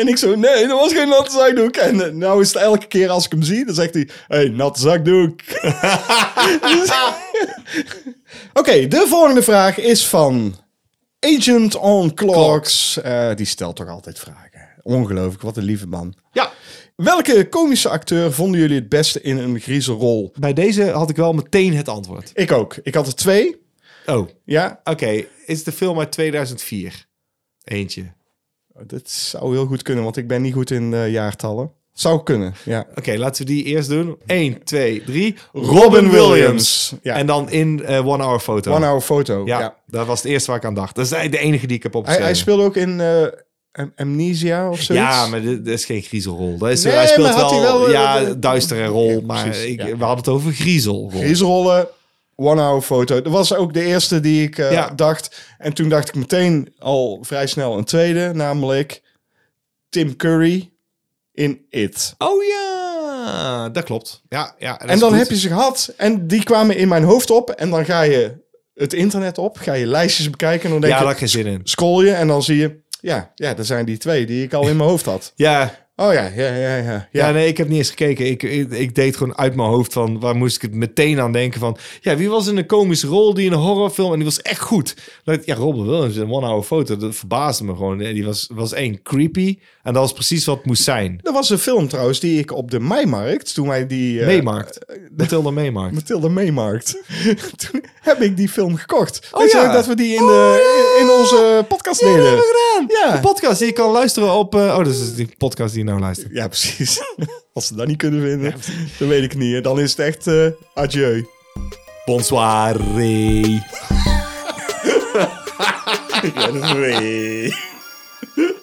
S1: En ik zo, nee, dat was geen natte zakdoek. En eh, nou is het elke keer als ik hem zie, dan zegt hij, hé, hey, natte zakdoek. <laughs> Dus- <laughs> Oké, de volgende vraag is van Agent on Clocks. Eh, die stelt toch altijd vragen. Ongelooflijk, wat een lieve man.
S2: Ja.
S1: Welke komische acteur vonden jullie het beste in een griezelrol?
S2: Bij deze had ik wel meteen het antwoord.
S1: Ik ook. Ik had er twee.
S2: Oh. Oké,
S1: Ja,
S2: is de film uit 2004. Eentje.
S1: dat zou heel goed kunnen, want ik ben niet goed in eh, jaartallen. Zou kunnen, ja.
S2: Oké, laten we die eerst doen. 1, 2, 3.
S1: Robin Williams. Ja.
S2: En dan in eh, One Hour Photo.
S1: One Hour Photo.
S2: Ja,
S1: nou Ja.
S2: dat was het eerste waar ik aan dacht. Dat is eigenlijk de enige die ik heb
S1: Hij,
S2: opgeschreven.
S1: hij speelde ook in eh, Am- Amnesia of zoiets.
S2: Ja, maar dit, dit is geen griezelrol. Dat is,
S1: Nee,
S2: hij speelt
S1: maar had
S2: wel,
S1: hij wel, eh,
S2: ja,
S1: eh,
S2: duistere rol.
S1: ja,
S2: maar
S1: precies,
S2: ik,
S1: ja.
S2: we hadden het over griezelrol.
S1: Griezelrollen, One Hour Photo. Dat was ook de eerste die ik eh,
S2: Ja.
S1: dacht. En toen dacht ik meteen al vrij snel een tweede, namelijk Tim Curry in It.
S2: Oh ja, dat klopt. Ja, ja,
S1: En dan heb je ze gehad. En die kwamen in mijn hoofd op. En dan ga je het internet op. Ga je lijstjes bekijken. En dan denk
S2: Ja,
S1: je,
S2: daar had ik geen zin in.
S1: scroll je. En dan zie je, ja, ja, dat zijn die twee die ik al in mijn hoofd had.
S2: Ja,
S1: Oh ja, ja, ja, ja.
S2: Ja,
S1: ja.
S2: nee, ik heb niet eens gekeken. Ik, ik, ik deed gewoon uit mijn hoofd van waar moest ik het meteen aan denken van. Ja, wie was in een komische rol die in een horrorfilm en die was echt goed. Dat, ja, Robin Williams in One Hour Photo, dat verbaasde me gewoon. Die was, was één creepy en dat was precies wat het moest zijn.
S1: Dat was een film trouwens die ik op de Meimarkt, toen wij die... eh,
S2: meemaakt. Mathilda meemaakt.
S1: Mathilde Meemaakt. <laughs> toen heb ik die film gekocht.
S2: Oh
S1: Weet je
S2: ja.
S1: ook dat we die in, de, in onze podcast
S2: Ja, dat
S1: deden?
S2: hebben we gedaan.
S1: Ja.
S2: De podcast die je kan luisteren op. eh, oh, dat is die podcast die je nou luistert.
S1: Ja, precies. <laughs> Als ze dat niet kunnen vinden, dan weet ik niet. hè. Dan is het echt eh, adieu.
S2: Bonsoir.
S1: <laughs> Nee.